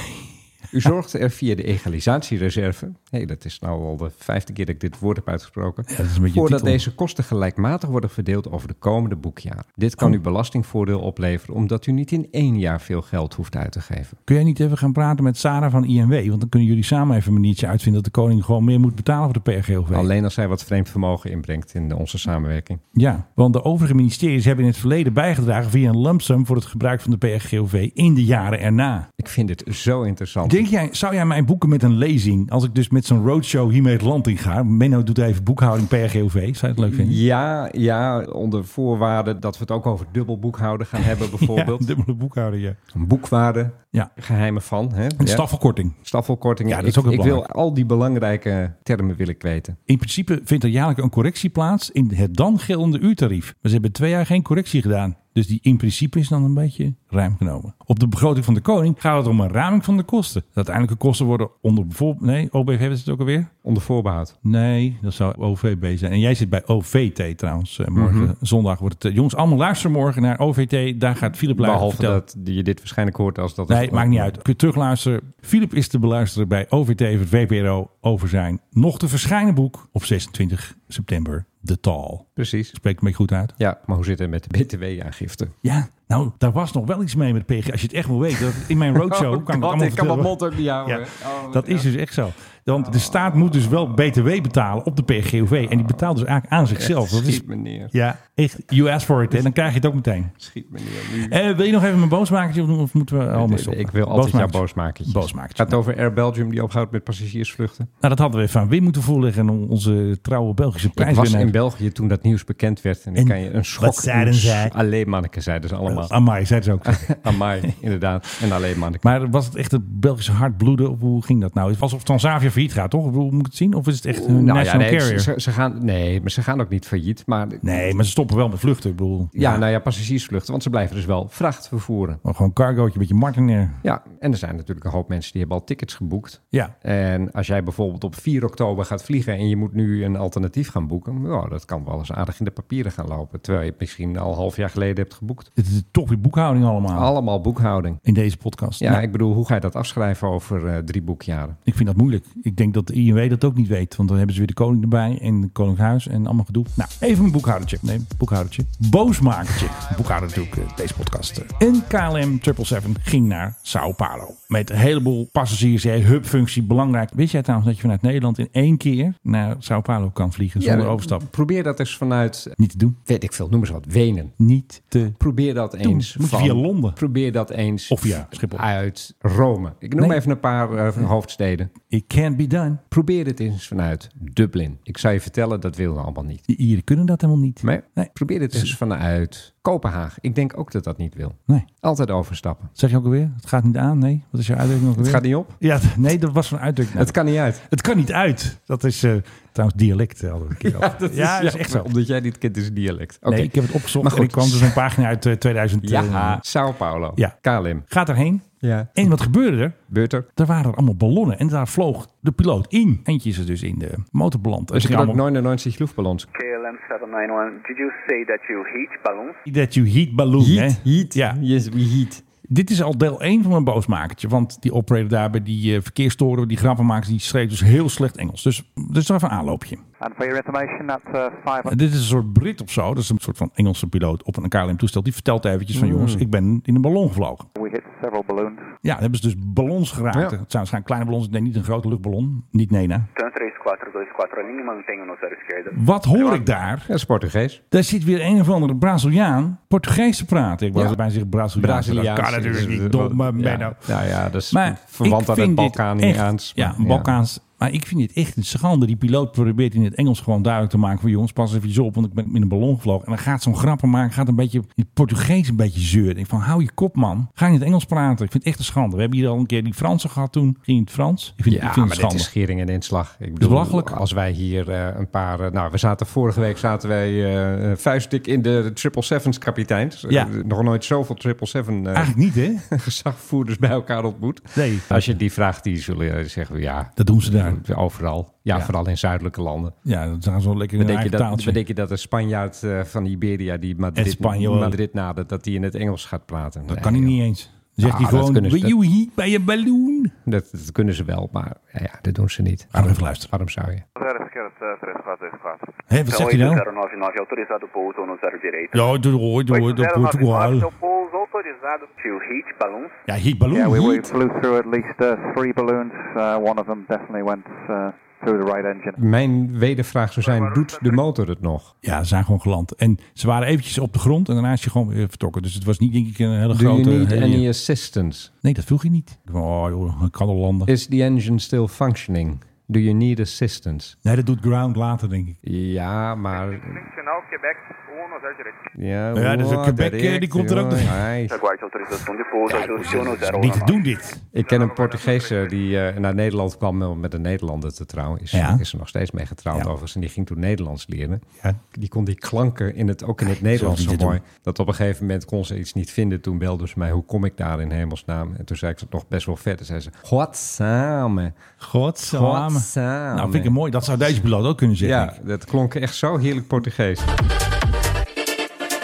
[SPEAKER 5] U zorgt er via de egalisatiereserve, hey, dat is nou al de vijfde keer dat ik dit woord heb uitgesproken,
[SPEAKER 4] dat is een beetje
[SPEAKER 5] voor dat
[SPEAKER 4] titel.
[SPEAKER 5] deze kosten gelijkmatig worden verdeeld over de komende boekjaren. Dit kan u belastingvoordeel opleveren omdat u niet in één jaar veel geld hoeft uit te geven.
[SPEAKER 4] Kun jij niet even gaan praten met Sarah van INW? Want dan kunnen jullie samen even een maniertje uitvinden dat de koning gewoon meer moet betalen voor de PRGOV.
[SPEAKER 5] Alleen als zij wat vreemd vermogen inbrengt in onze samenwerking.
[SPEAKER 4] Ja, want de overige ministeries hebben in het verleden bijgedragen via een lump sum voor het gebruik van de PRGOV in de jaren erna.
[SPEAKER 5] Ik vind dit zo interessant.
[SPEAKER 4] Denk jij, zou jij mij boeken met een lezing als ik dus met zo'n roadshow hiermee het land in ga? Menno doet even boekhouding PRGOV. Zou je het leuk vinden?
[SPEAKER 5] Ja, ja, onder voorwaarde dat we het ook over dubbel boekhouden gaan hebben bijvoorbeeld.
[SPEAKER 4] Ja, dubbele boekhouding, ja.
[SPEAKER 5] Een boekwaarde,
[SPEAKER 4] Ja,
[SPEAKER 5] geheimen van. Hè?
[SPEAKER 4] een
[SPEAKER 5] Ja.
[SPEAKER 4] stafverkorting.
[SPEAKER 5] Staffelkortingen.
[SPEAKER 4] Ja, dat is
[SPEAKER 5] Ik-
[SPEAKER 4] ook heel
[SPEAKER 5] ik, wil al die belangrijke termen wil ik weten.
[SPEAKER 4] In principe vindt er jaarlijks een correctie plaats in het dan geldende uurtarief. Maar ze hebben twee jaar geen correctie gedaan. Dus die in principe is dan een beetje ruim genomen. Op de begroting van de koning gaat het om een raming van de kosten. De uiteindelijke kosten worden onder bijvoorbeeld... Nee, OBV is het ook alweer?
[SPEAKER 5] Onder voorbehoud.
[SPEAKER 4] Nee, dat zou OVB zijn. En jij zit bij OVT trouwens. eh, Morgen zondag wordt het... eh, jongens, allemaal luister morgen naar OVT. Daar gaat Philip Luijgen
[SPEAKER 5] Behalve
[SPEAKER 4] vertellen.
[SPEAKER 5] dat je dit waarschijnlijk hoort als dat...
[SPEAKER 4] Nee, maakt niet uit. eh, Kun je terugluisteren. Philip is te beluisteren bij OVT van VPRO over zijn nog te verschijnen boek op 26 september. De Tal.
[SPEAKER 5] Precies.
[SPEAKER 4] Spreekt me goed uit.
[SPEAKER 5] Ja, maar hoe zit het met de btw-aangifte?
[SPEAKER 4] Ja, nou, daar was nog wel iets mee met PG. Als je het echt wil weten, dat in mijn roadshow
[SPEAKER 5] Oh
[SPEAKER 4] kan Oh, ik het allemaal vertellen.
[SPEAKER 5] ook niet Oh,
[SPEAKER 4] Ja, dat is dus echt zo. Want de staat moet dus wel BTW betalen op de PGOV. En die betaalt dus eigenlijk aan zichzelf. Dat is,
[SPEAKER 5] Schiet me neer.
[SPEAKER 4] ja, echt, you ask for it. En dan krijg je het ook meteen.
[SPEAKER 5] Schiet me neer. Nu.
[SPEAKER 4] Eh, wil je nog even mijn boosmakertje doen of moeten we allemaal stoppen?
[SPEAKER 5] Ik wil altijd jouw
[SPEAKER 4] Boosmakertje.
[SPEAKER 5] boosmakertjes.
[SPEAKER 4] Boosmakertjes.
[SPEAKER 5] Gaat het over Air Belgium die ophoudt met passagiersvluchten?
[SPEAKER 4] Nou, dat hadden we even aan Wim moeten voorleggen. En onze trouwe Belgische
[SPEAKER 5] Ik was
[SPEAKER 4] prijswinnaar.
[SPEAKER 5] in België toen dat nieuws bekend werd. En dan
[SPEAKER 4] En
[SPEAKER 5] kan je een schok...
[SPEAKER 4] zeiden zij?
[SPEAKER 5] Alleen manneken zeiden ze allemaal.
[SPEAKER 4] Eh, Amai, zei ze ook.
[SPEAKER 5] Amai, inderdaad. En alleen manneken.
[SPEAKER 4] Maar was het echt het Belgische hart bloeden? Of hoe ging dat nou? Het was alsof Transavia failliet gaat, toch? Ik bedoel, Moet ik het zien? Of is het echt een
[SPEAKER 5] Nou ja,
[SPEAKER 4] national
[SPEAKER 5] nee,
[SPEAKER 4] carrier?
[SPEAKER 5] Ze, ze gaan, nee, maar ze gaan ook niet failliet. Maar
[SPEAKER 4] Nee, maar ze stoppen wel met vluchten. Ik bedoel,
[SPEAKER 5] ja, nou ja, passagiersvluchten. Want ze blijven dus wel vracht vervoeren.
[SPEAKER 4] maar gewoon cargootje, een beetje martinair.
[SPEAKER 5] Ja, en er zijn natuurlijk een hoop mensen die hebben al tickets geboekt.
[SPEAKER 4] Ja.
[SPEAKER 5] En als jij bijvoorbeeld op 4 oktober gaat vliegen en je moet nu een alternatief gaan boeken, nou, dat kan wel eens aardig in de papieren gaan lopen. Terwijl je het misschien al een half jaar geleden hebt geboekt.
[SPEAKER 4] Het is toch weer boekhouding allemaal
[SPEAKER 5] Allemaal boekhouding.
[SPEAKER 4] in deze podcast.
[SPEAKER 5] Ja,
[SPEAKER 4] Nou,
[SPEAKER 5] ik bedoel, hoe ga je dat afschrijven over eh, drie boekjaren?
[SPEAKER 4] ik vind dat moeilijk. Ik denk dat de INW dat ook niet weet. Want dan hebben ze weer de koning erbij en het koninkhuis en allemaal gedoe. Nou, even een boekhoudertje. Nee, boekhoudertje. Boosmakertje. Boekhouder natuurlijk, eh, deze podcast. eh. En KLM 777 ging naar Sao Paulo. Met een heleboel passagiers. hè, Hubfunctie, belangrijk. Wist jij trouwens dat je vanuit Nederland in één keer naar Sao Paulo kan vliegen zonder
[SPEAKER 5] Ja,
[SPEAKER 4] overstap?
[SPEAKER 5] Probeer dat eens vanuit,
[SPEAKER 4] Niet te doen.
[SPEAKER 5] weet ik veel, noem eens wat, Wenen.
[SPEAKER 4] Niet te
[SPEAKER 5] Probeer dat eens
[SPEAKER 4] Moet je
[SPEAKER 5] van-
[SPEAKER 4] via Londen.
[SPEAKER 5] Probeer dat eens
[SPEAKER 4] Of via Schiphol.
[SPEAKER 5] uit Rome. Ik noem
[SPEAKER 4] Nee.
[SPEAKER 5] even een paar eh, hoofdsteden.
[SPEAKER 4] It can can't be done.
[SPEAKER 5] Probeer het eens vanuit Dublin. Ik zou je vertellen, dat willen we allemaal niet.
[SPEAKER 4] Die Ieren kunnen dat helemaal niet.
[SPEAKER 5] Maar
[SPEAKER 4] Nee.
[SPEAKER 5] probeer het eens vanuit Kopenhagen. Ik denk ook dat dat niet wil.
[SPEAKER 4] Nee.
[SPEAKER 5] Altijd overstappen.
[SPEAKER 4] Zeg je ook alweer? Het gaat niet aan. Nee. Wat is je uitdrukking ook
[SPEAKER 5] Het
[SPEAKER 4] alweer?
[SPEAKER 5] gaat niet op.
[SPEAKER 4] Ja, d- nee, dat was een uitdrukking.
[SPEAKER 5] Het kan niet uit.
[SPEAKER 4] Het kan niet uit. Dat is eh, trouwens dialect. eh, Hadden we een keer over.
[SPEAKER 5] dat
[SPEAKER 4] ja, dat is echt zo.
[SPEAKER 5] Omdat jij dit kent, is het dialect. Oké.
[SPEAKER 4] Nee, ik heb het opgezocht.
[SPEAKER 5] Maar
[SPEAKER 4] Maar
[SPEAKER 5] goed.
[SPEAKER 4] ik kwam dus een pagina uit eh, 2000.
[SPEAKER 5] Ja,
[SPEAKER 4] eh,
[SPEAKER 5] Sao Paulo.
[SPEAKER 4] Ja.
[SPEAKER 5] KLM.
[SPEAKER 4] gaat erheen.
[SPEAKER 5] Ja.
[SPEAKER 4] En wat gebeurde er?
[SPEAKER 5] Beurter.
[SPEAKER 4] Er waren er allemaal ballonnen en daar vloog de piloot in. Eentje is er dus in de motor beland. En ze
[SPEAKER 5] Misschien ook
[SPEAKER 4] kwamen-
[SPEAKER 5] 99 luchtballons.
[SPEAKER 1] KLM 791, did you say that you heat balloons?
[SPEAKER 4] That you heat balloon,
[SPEAKER 5] Heat,
[SPEAKER 4] hè?
[SPEAKER 5] heat.
[SPEAKER 4] Ja.
[SPEAKER 5] Yes, we heat.
[SPEAKER 4] Dit is al deel 1 van mijn boosmakertje. Want die operator daar bij die eh, verkeerstoren, die grappenmakers, die schreef dus heel slecht Engels. Dus dat is wel even een aanloopje.
[SPEAKER 1] And for your information, that's uh, five.
[SPEAKER 4] En dit is een soort Brit of zo. Dat is een soort van Engelse piloot op een KLM-toestel. Die vertelt eventjes van jongens, ik ben in een ballon gevlogen.
[SPEAKER 1] We hit several balloons.
[SPEAKER 4] Ja, dan hebben ze dus ballons geraakt. Het
[SPEAKER 5] Ja.
[SPEAKER 4] zijn waarschijnlijk kleine ballons. Ik denk niet een grote luchtballon. Niet Nena.
[SPEAKER 1] Tan 3424, linha mantenha-nos à esquerda.
[SPEAKER 4] Wat hoor ik daar?
[SPEAKER 5] Dat is Portugees.
[SPEAKER 4] Daar zit weer een of andere Braziliaan Portugees te praten. Ik wou
[SPEAKER 5] Ja.
[SPEAKER 4] bijna zeggen Braziliaans.
[SPEAKER 5] Braziliaans.
[SPEAKER 4] Dat
[SPEAKER 5] eh,
[SPEAKER 4] kan natuurlijk niet, domme Menno.
[SPEAKER 5] Ja, nou ja, dat is
[SPEAKER 4] Maar
[SPEAKER 5] verwant
[SPEAKER 4] ik
[SPEAKER 5] aan het
[SPEAKER 4] vind dit
[SPEAKER 5] Balkaniaans.
[SPEAKER 4] echt- Ja, Balkaans. Maar ik vind dit echt een schande. Die piloot probeert in het Engels gewoon duidelijk te maken van... jongens, pas even op, want ik ben in een ballon gevlogen. En dan gaat zo'n grappen maken, gaat een beetje in het Portugees een beetje zeuren. Ik denk van, hou je kop, man. Ga in het Engels praten. Ik vind het echt een schande. We hebben hier al een keer die Fransen gehad toen. Ging in het Frans. Ik vind,
[SPEAKER 5] Ja,
[SPEAKER 4] ik vind
[SPEAKER 5] maar
[SPEAKER 4] het
[SPEAKER 5] dit
[SPEAKER 4] schande.
[SPEAKER 5] is schering en inslag. Ik bedoel,
[SPEAKER 4] belachelijk.
[SPEAKER 5] als wij hier eh, een paar... eh, nou, we zaten vorige week zaten wij eh vuistdik in de Triple Sevens kapiteins.
[SPEAKER 4] Ja.
[SPEAKER 5] Eh, nog nooit zoveel Triple Seven eh
[SPEAKER 4] Eigenlijk niet, hè?
[SPEAKER 5] gezagvoerders bij elkaar ontmoet.
[SPEAKER 4] Nee.
[SPEAKER 5] Als je die vraagt, die zullen eh, zeggen, ja,
[SPEAKER 4] Dat doen ze daar.
[SPEAKER 5] overal. Ja, vooral in zuidelijke landen.
[SPEAKER 4] Ja, dat zijn ze wel lekker in hun
[SPEAKER 5] Bedenk je,
[SPEAKER 4] eigen
[SPEAKER 5] dat,
[SPEAKER 4] taaltje.
[SPEAKER 5] bedenk je dat een Spanjaard eh, van Iberia die Madrid,
[SPEAKER 4] Espanol.
[SPEAKER 5] Madrid nadert, dat die in het Engels gaat praten?
[SPEAKER 4] Dat kan ik niet eens. Dan zegt
[SPEAKER 5] Ah,
[SPEAKER 4] hij
[SPEAKER 5] dat
[SPEAKER 4] gewoon,
[SPEAKER 5] kunnen ze-
[SPEAKER 4] will you heat bij je balloon?
[SPEAKER 5] Dat, dat kunnen ze wel, maar ja, ja, dat doen ze niet.
[SPEAKER 4] Laten we even luisteren.
[SPEAKER 5] Waarom zou je?
[SPEAKER 1] Zero esquerda, 3424.
[SPEAKER 4] Hé, wat zegt hij nou?
[SPEAKER 1] 099, autorizado pouso no zero direito.
[SPEAKER 4] Ja, doe hoor, doe hoor, dat Portugal.
[SPEAKER 1] 8099, seu pouso autorizado. To heat balloons.
[SPEAKER 4] Ja, heat balloon,
[SPEAKER 1] Yeah, we, we
[SPEAKER 4] heat.
[SPEAKER 1] flew through at least uh, three balloons. Uh, one of them definitely went uh, through the right engine.
[SPEAKER 5] Mijn wedervraag zou zijn, doet de motor het nog?
[SPEAKER 4] Ja, ze zijn gewoon geland. En ze waren eventjes op de grond en daarna is je gewoon weer vertrokken. Dus het was niet, denk ik, een hele
[SPEAKER 5] Do you
[SPEAKER 4] grote...
[SPEAKER 5] need
[SPEAKER 4] hele-
[SPEAKER 5] any assistance?
[SPEAKER 4] Nee, dat vroeg je niet. Ik dacht, Oh joh, ik kan al landen.
[SPEAKER 5] Is the engine still functioning? Do you need assistance?
[SPEAKER 4] Nee, dat doet ground later, denk ik.
[SPEAKER 5] Ja, maar...
[SPEAKER 1] Functional Quebec 1 0 direito.
[SPEAKER 5] Ja,
[SPEAKER 4] Ja, dus
[SPEAKER 5] oh,
[SPEAKER 4] Quebec, eh, die
[SPEAKER 5] direct,
[SPEAKER 4] komt er ook
[SPEAKER 5] joh.
[SPEAKER 4] nog.
[SPEAKER 5] Hai.
[SPEAKER 1] Guarde autorização de pouso, ajuste
[SPEAKER 4] Dat is niet te doen, dit.
[SPEAKER 5] Ik ken een Portugese die eh, naar Nederland kwam met een Nederlander te trouwen. Is,
[SPEAKER 4] Ja.
[SPEAKER 5] is er nog steeds mee getrouwd
[SPEAKER 4] Ja.
[SPEAKER 5] overigens. En die ging toen Nederlands leren.
[SPEAKER 4] Ja.
[SPEAKER 5] Die kon die klanken in het, ook in het Nederlands
[SPEAKER 4] niet
[SPEAKER 5] zo
[SPEAKER 4] te
[SPEAKER 5] mooi.
[SPEAKER 4] doen.
[SPEAKER 5] Dat op een gegeven moment kon ze iets niet vinden. Toen belde ze mij, hoe kom ik daar in hemelsnaam? En toen zei ik dat nog best wel vet. En zei ze, godsamme.
[SPEAKER 4] Godsamme.
[SPEAKER 5] Godsamme.
[SPEAKER 4] Nou, vind ik het mooi. Dat zou deze piloot ook kunnen zeggen.
[SPEAKER 5] Ja, dat klonk echt zo heerlijk Portugees.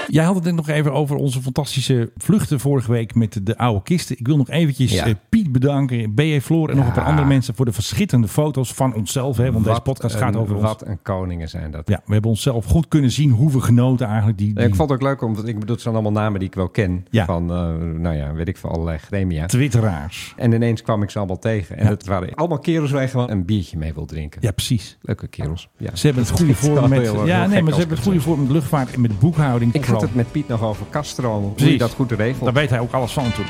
[SPEAKER 4] Jij had het denk ik nog even over onze fantastische vluchten vorige week met de oude kisten. Ik wil nog eventjes
[SPEAKER 5] Ja.
[SPEAKER 4] eh, Piet bedanken, B.E. Floor en nog een paar
[SPEAKER 5] Ja.
[SPEAKER 4] andere mensen voor de verschittende foto's van onszelf. Hè, want deze
[SPEAKER 5] Wat
[SPEAKER 4] podcast
[SPEAKER 5] een-
[SPEAKER 4] gaat over ons.
[SPEAKER 5] Wat een koningen zijn dat.
[SPEAKER 4] Ja, we hebben onszelf goed kunnen zien hoe we genoten eigenlijk. Die,
[SPEAKER 5] Ja, Ik
[SPEAKER 4] die
[SPEAKER 5] vond het ook leuk, omdat ik bedoel, het zijn allemaal namen die ik wel ken.
[SPEAKER 4] Ja.
[SPEAKER 5] Van, eh, nou ja, weet ik van allerlei gremia.
[SPEAKER 4] twitteraars.
[SPEAKER 5] En ineens kwam ik ze allemaal tegen. En
[SPEAKER 4] Ja.
[SPEAKER 5] het waren allemaal kerels waar je gewoon een biertje mee wil drinken.
[SPEAKER 4] Ja, precies.
[SPEAKER 5] Leuke kerels. Ja.
[SPEAKER 4] Ze hebben het goede
[SPEAKER 5] Het is
[SPEAKER 4] vorm
[SPEAKER 5] wel
[SPEAKER 4] met,
[SPEAKER 5] heel, heel
[SPEAKER 4] ja, nee, maar
[SPEAKER 5] gek als
[SPEAKER 4] ze hebben het
[SPEAKER 5] het
[SPEAKER 4] goede
[SPEAKER 5] zo
[SPEAKER 4] vorm met luchtvaart en met boekhouding.
[SPEAKER 5] Ik had
[SPEAKER 4] Vooral.
[SPEAKER 5] het met Piet nog over Castro. Hoe je
[SPEAKER 4] Precies.
[SPEAKER 5] dat goed regelt.
[SPEAKER 4] Daar weet hij ook alles van toen.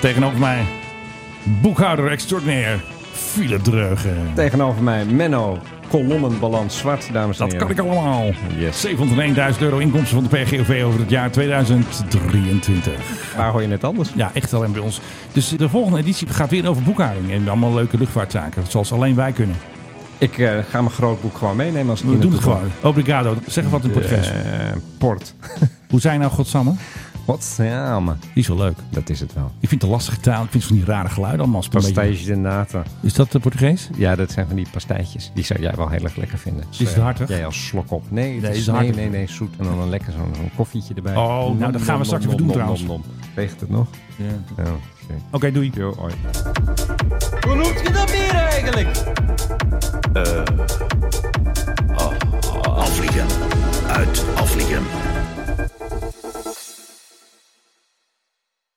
[SPEAKER 4] Tegenover mij, boekhouder extraordinair, Philip Dreugen.
[SPEAKER 5] Tegenover mij Menno, kolommenbalans zwart, dames en
[SPEAKER 4] Dat
[SPEAKER 5] heren.
[SPEAKER 4] kan ik allemaal.
[SPEAKER 5] Yes.
[SPEAKER 4] 701.000 euro inkomsten van de PGOV over het jaar 2023.
[SPEAKER 5] Waar hoor je net anders?
[SPEAKER 4] Ja, echt alleen bij ons. Dus de volgende editie gaat weer over boekhouding en allemaal leuke luchtvaartzaken. Zoals alleen wij kunnen.
[SPEAKER 5] Ik eh, ga mijn grootboek gewoon meenemen. Als ik
[SPEAKER 4] We
[SPEAKER 5] hier
[SPEAKER 4] doen het
[SPEAKER 5] naartoe
[SPEAKER 4] gewoon. Obrigado. Zeg wat in Portugees.
[SPEAKER 5] kom. Eh, port.
[SPEAKER 4] Hoe zijn nou godsamme?
[SPEAKER 5] Wat samen.
[SPEAKER 4] Die is wel leuk.
[SPEAKER 5] Dat is het wel.
[SPEAKER 4] Ik vind de lastige taal. Ik vind van die rare geluiden allemaal. als het een beetje-
[SPEAKER 5] Pasteitje de nata.
[SPEAKER 4] Is dat de Portugees?
[SPEAKER 5] Ja, dat zijn van die pastijtjes. Die zou jij wel heel erg lekker vinden. Dus,
[SPEAKER 4] Is het
[SPEAKER 5] eh,
[SPEAKER 4] hartig?
[SPEAKER 5] Jij als slok op. Nee, het
[SPEAKER 4] Nee,
[SPEAKER 5] is,
[SPEAKER 4] is het
[SPEAKER 5] nee,
[SPEAKER 4] hartig?
[SPEAKER 5] nee, nee, zoet. En dan een lekker zo'n zo'n koffietje erbij.
[SPEAKER 4] Oh, nou,
[SPEAKER 5] Nom,
[SPEAKER 4] dat
[SPEAKER 5] nom,
[SPEAKER 4] gaan we
[SPEAKER 5] nom,
[SPEAKER 4] straks
[SPEAKER 5] nom,
[SPEAKER 4] even doen
[SPEAKER 5] nom,
[SPEAKER 4] trouwens.
[SPEAKER 5] nom, nom. Weegt het nog? Oh, Ja. Oké.
[SPEAKER 4] Oké, doei.
[SPEAKER 5] Jo, hoi.
[SPEAKER 7] Hoe noemt je dat bier eigenlijk?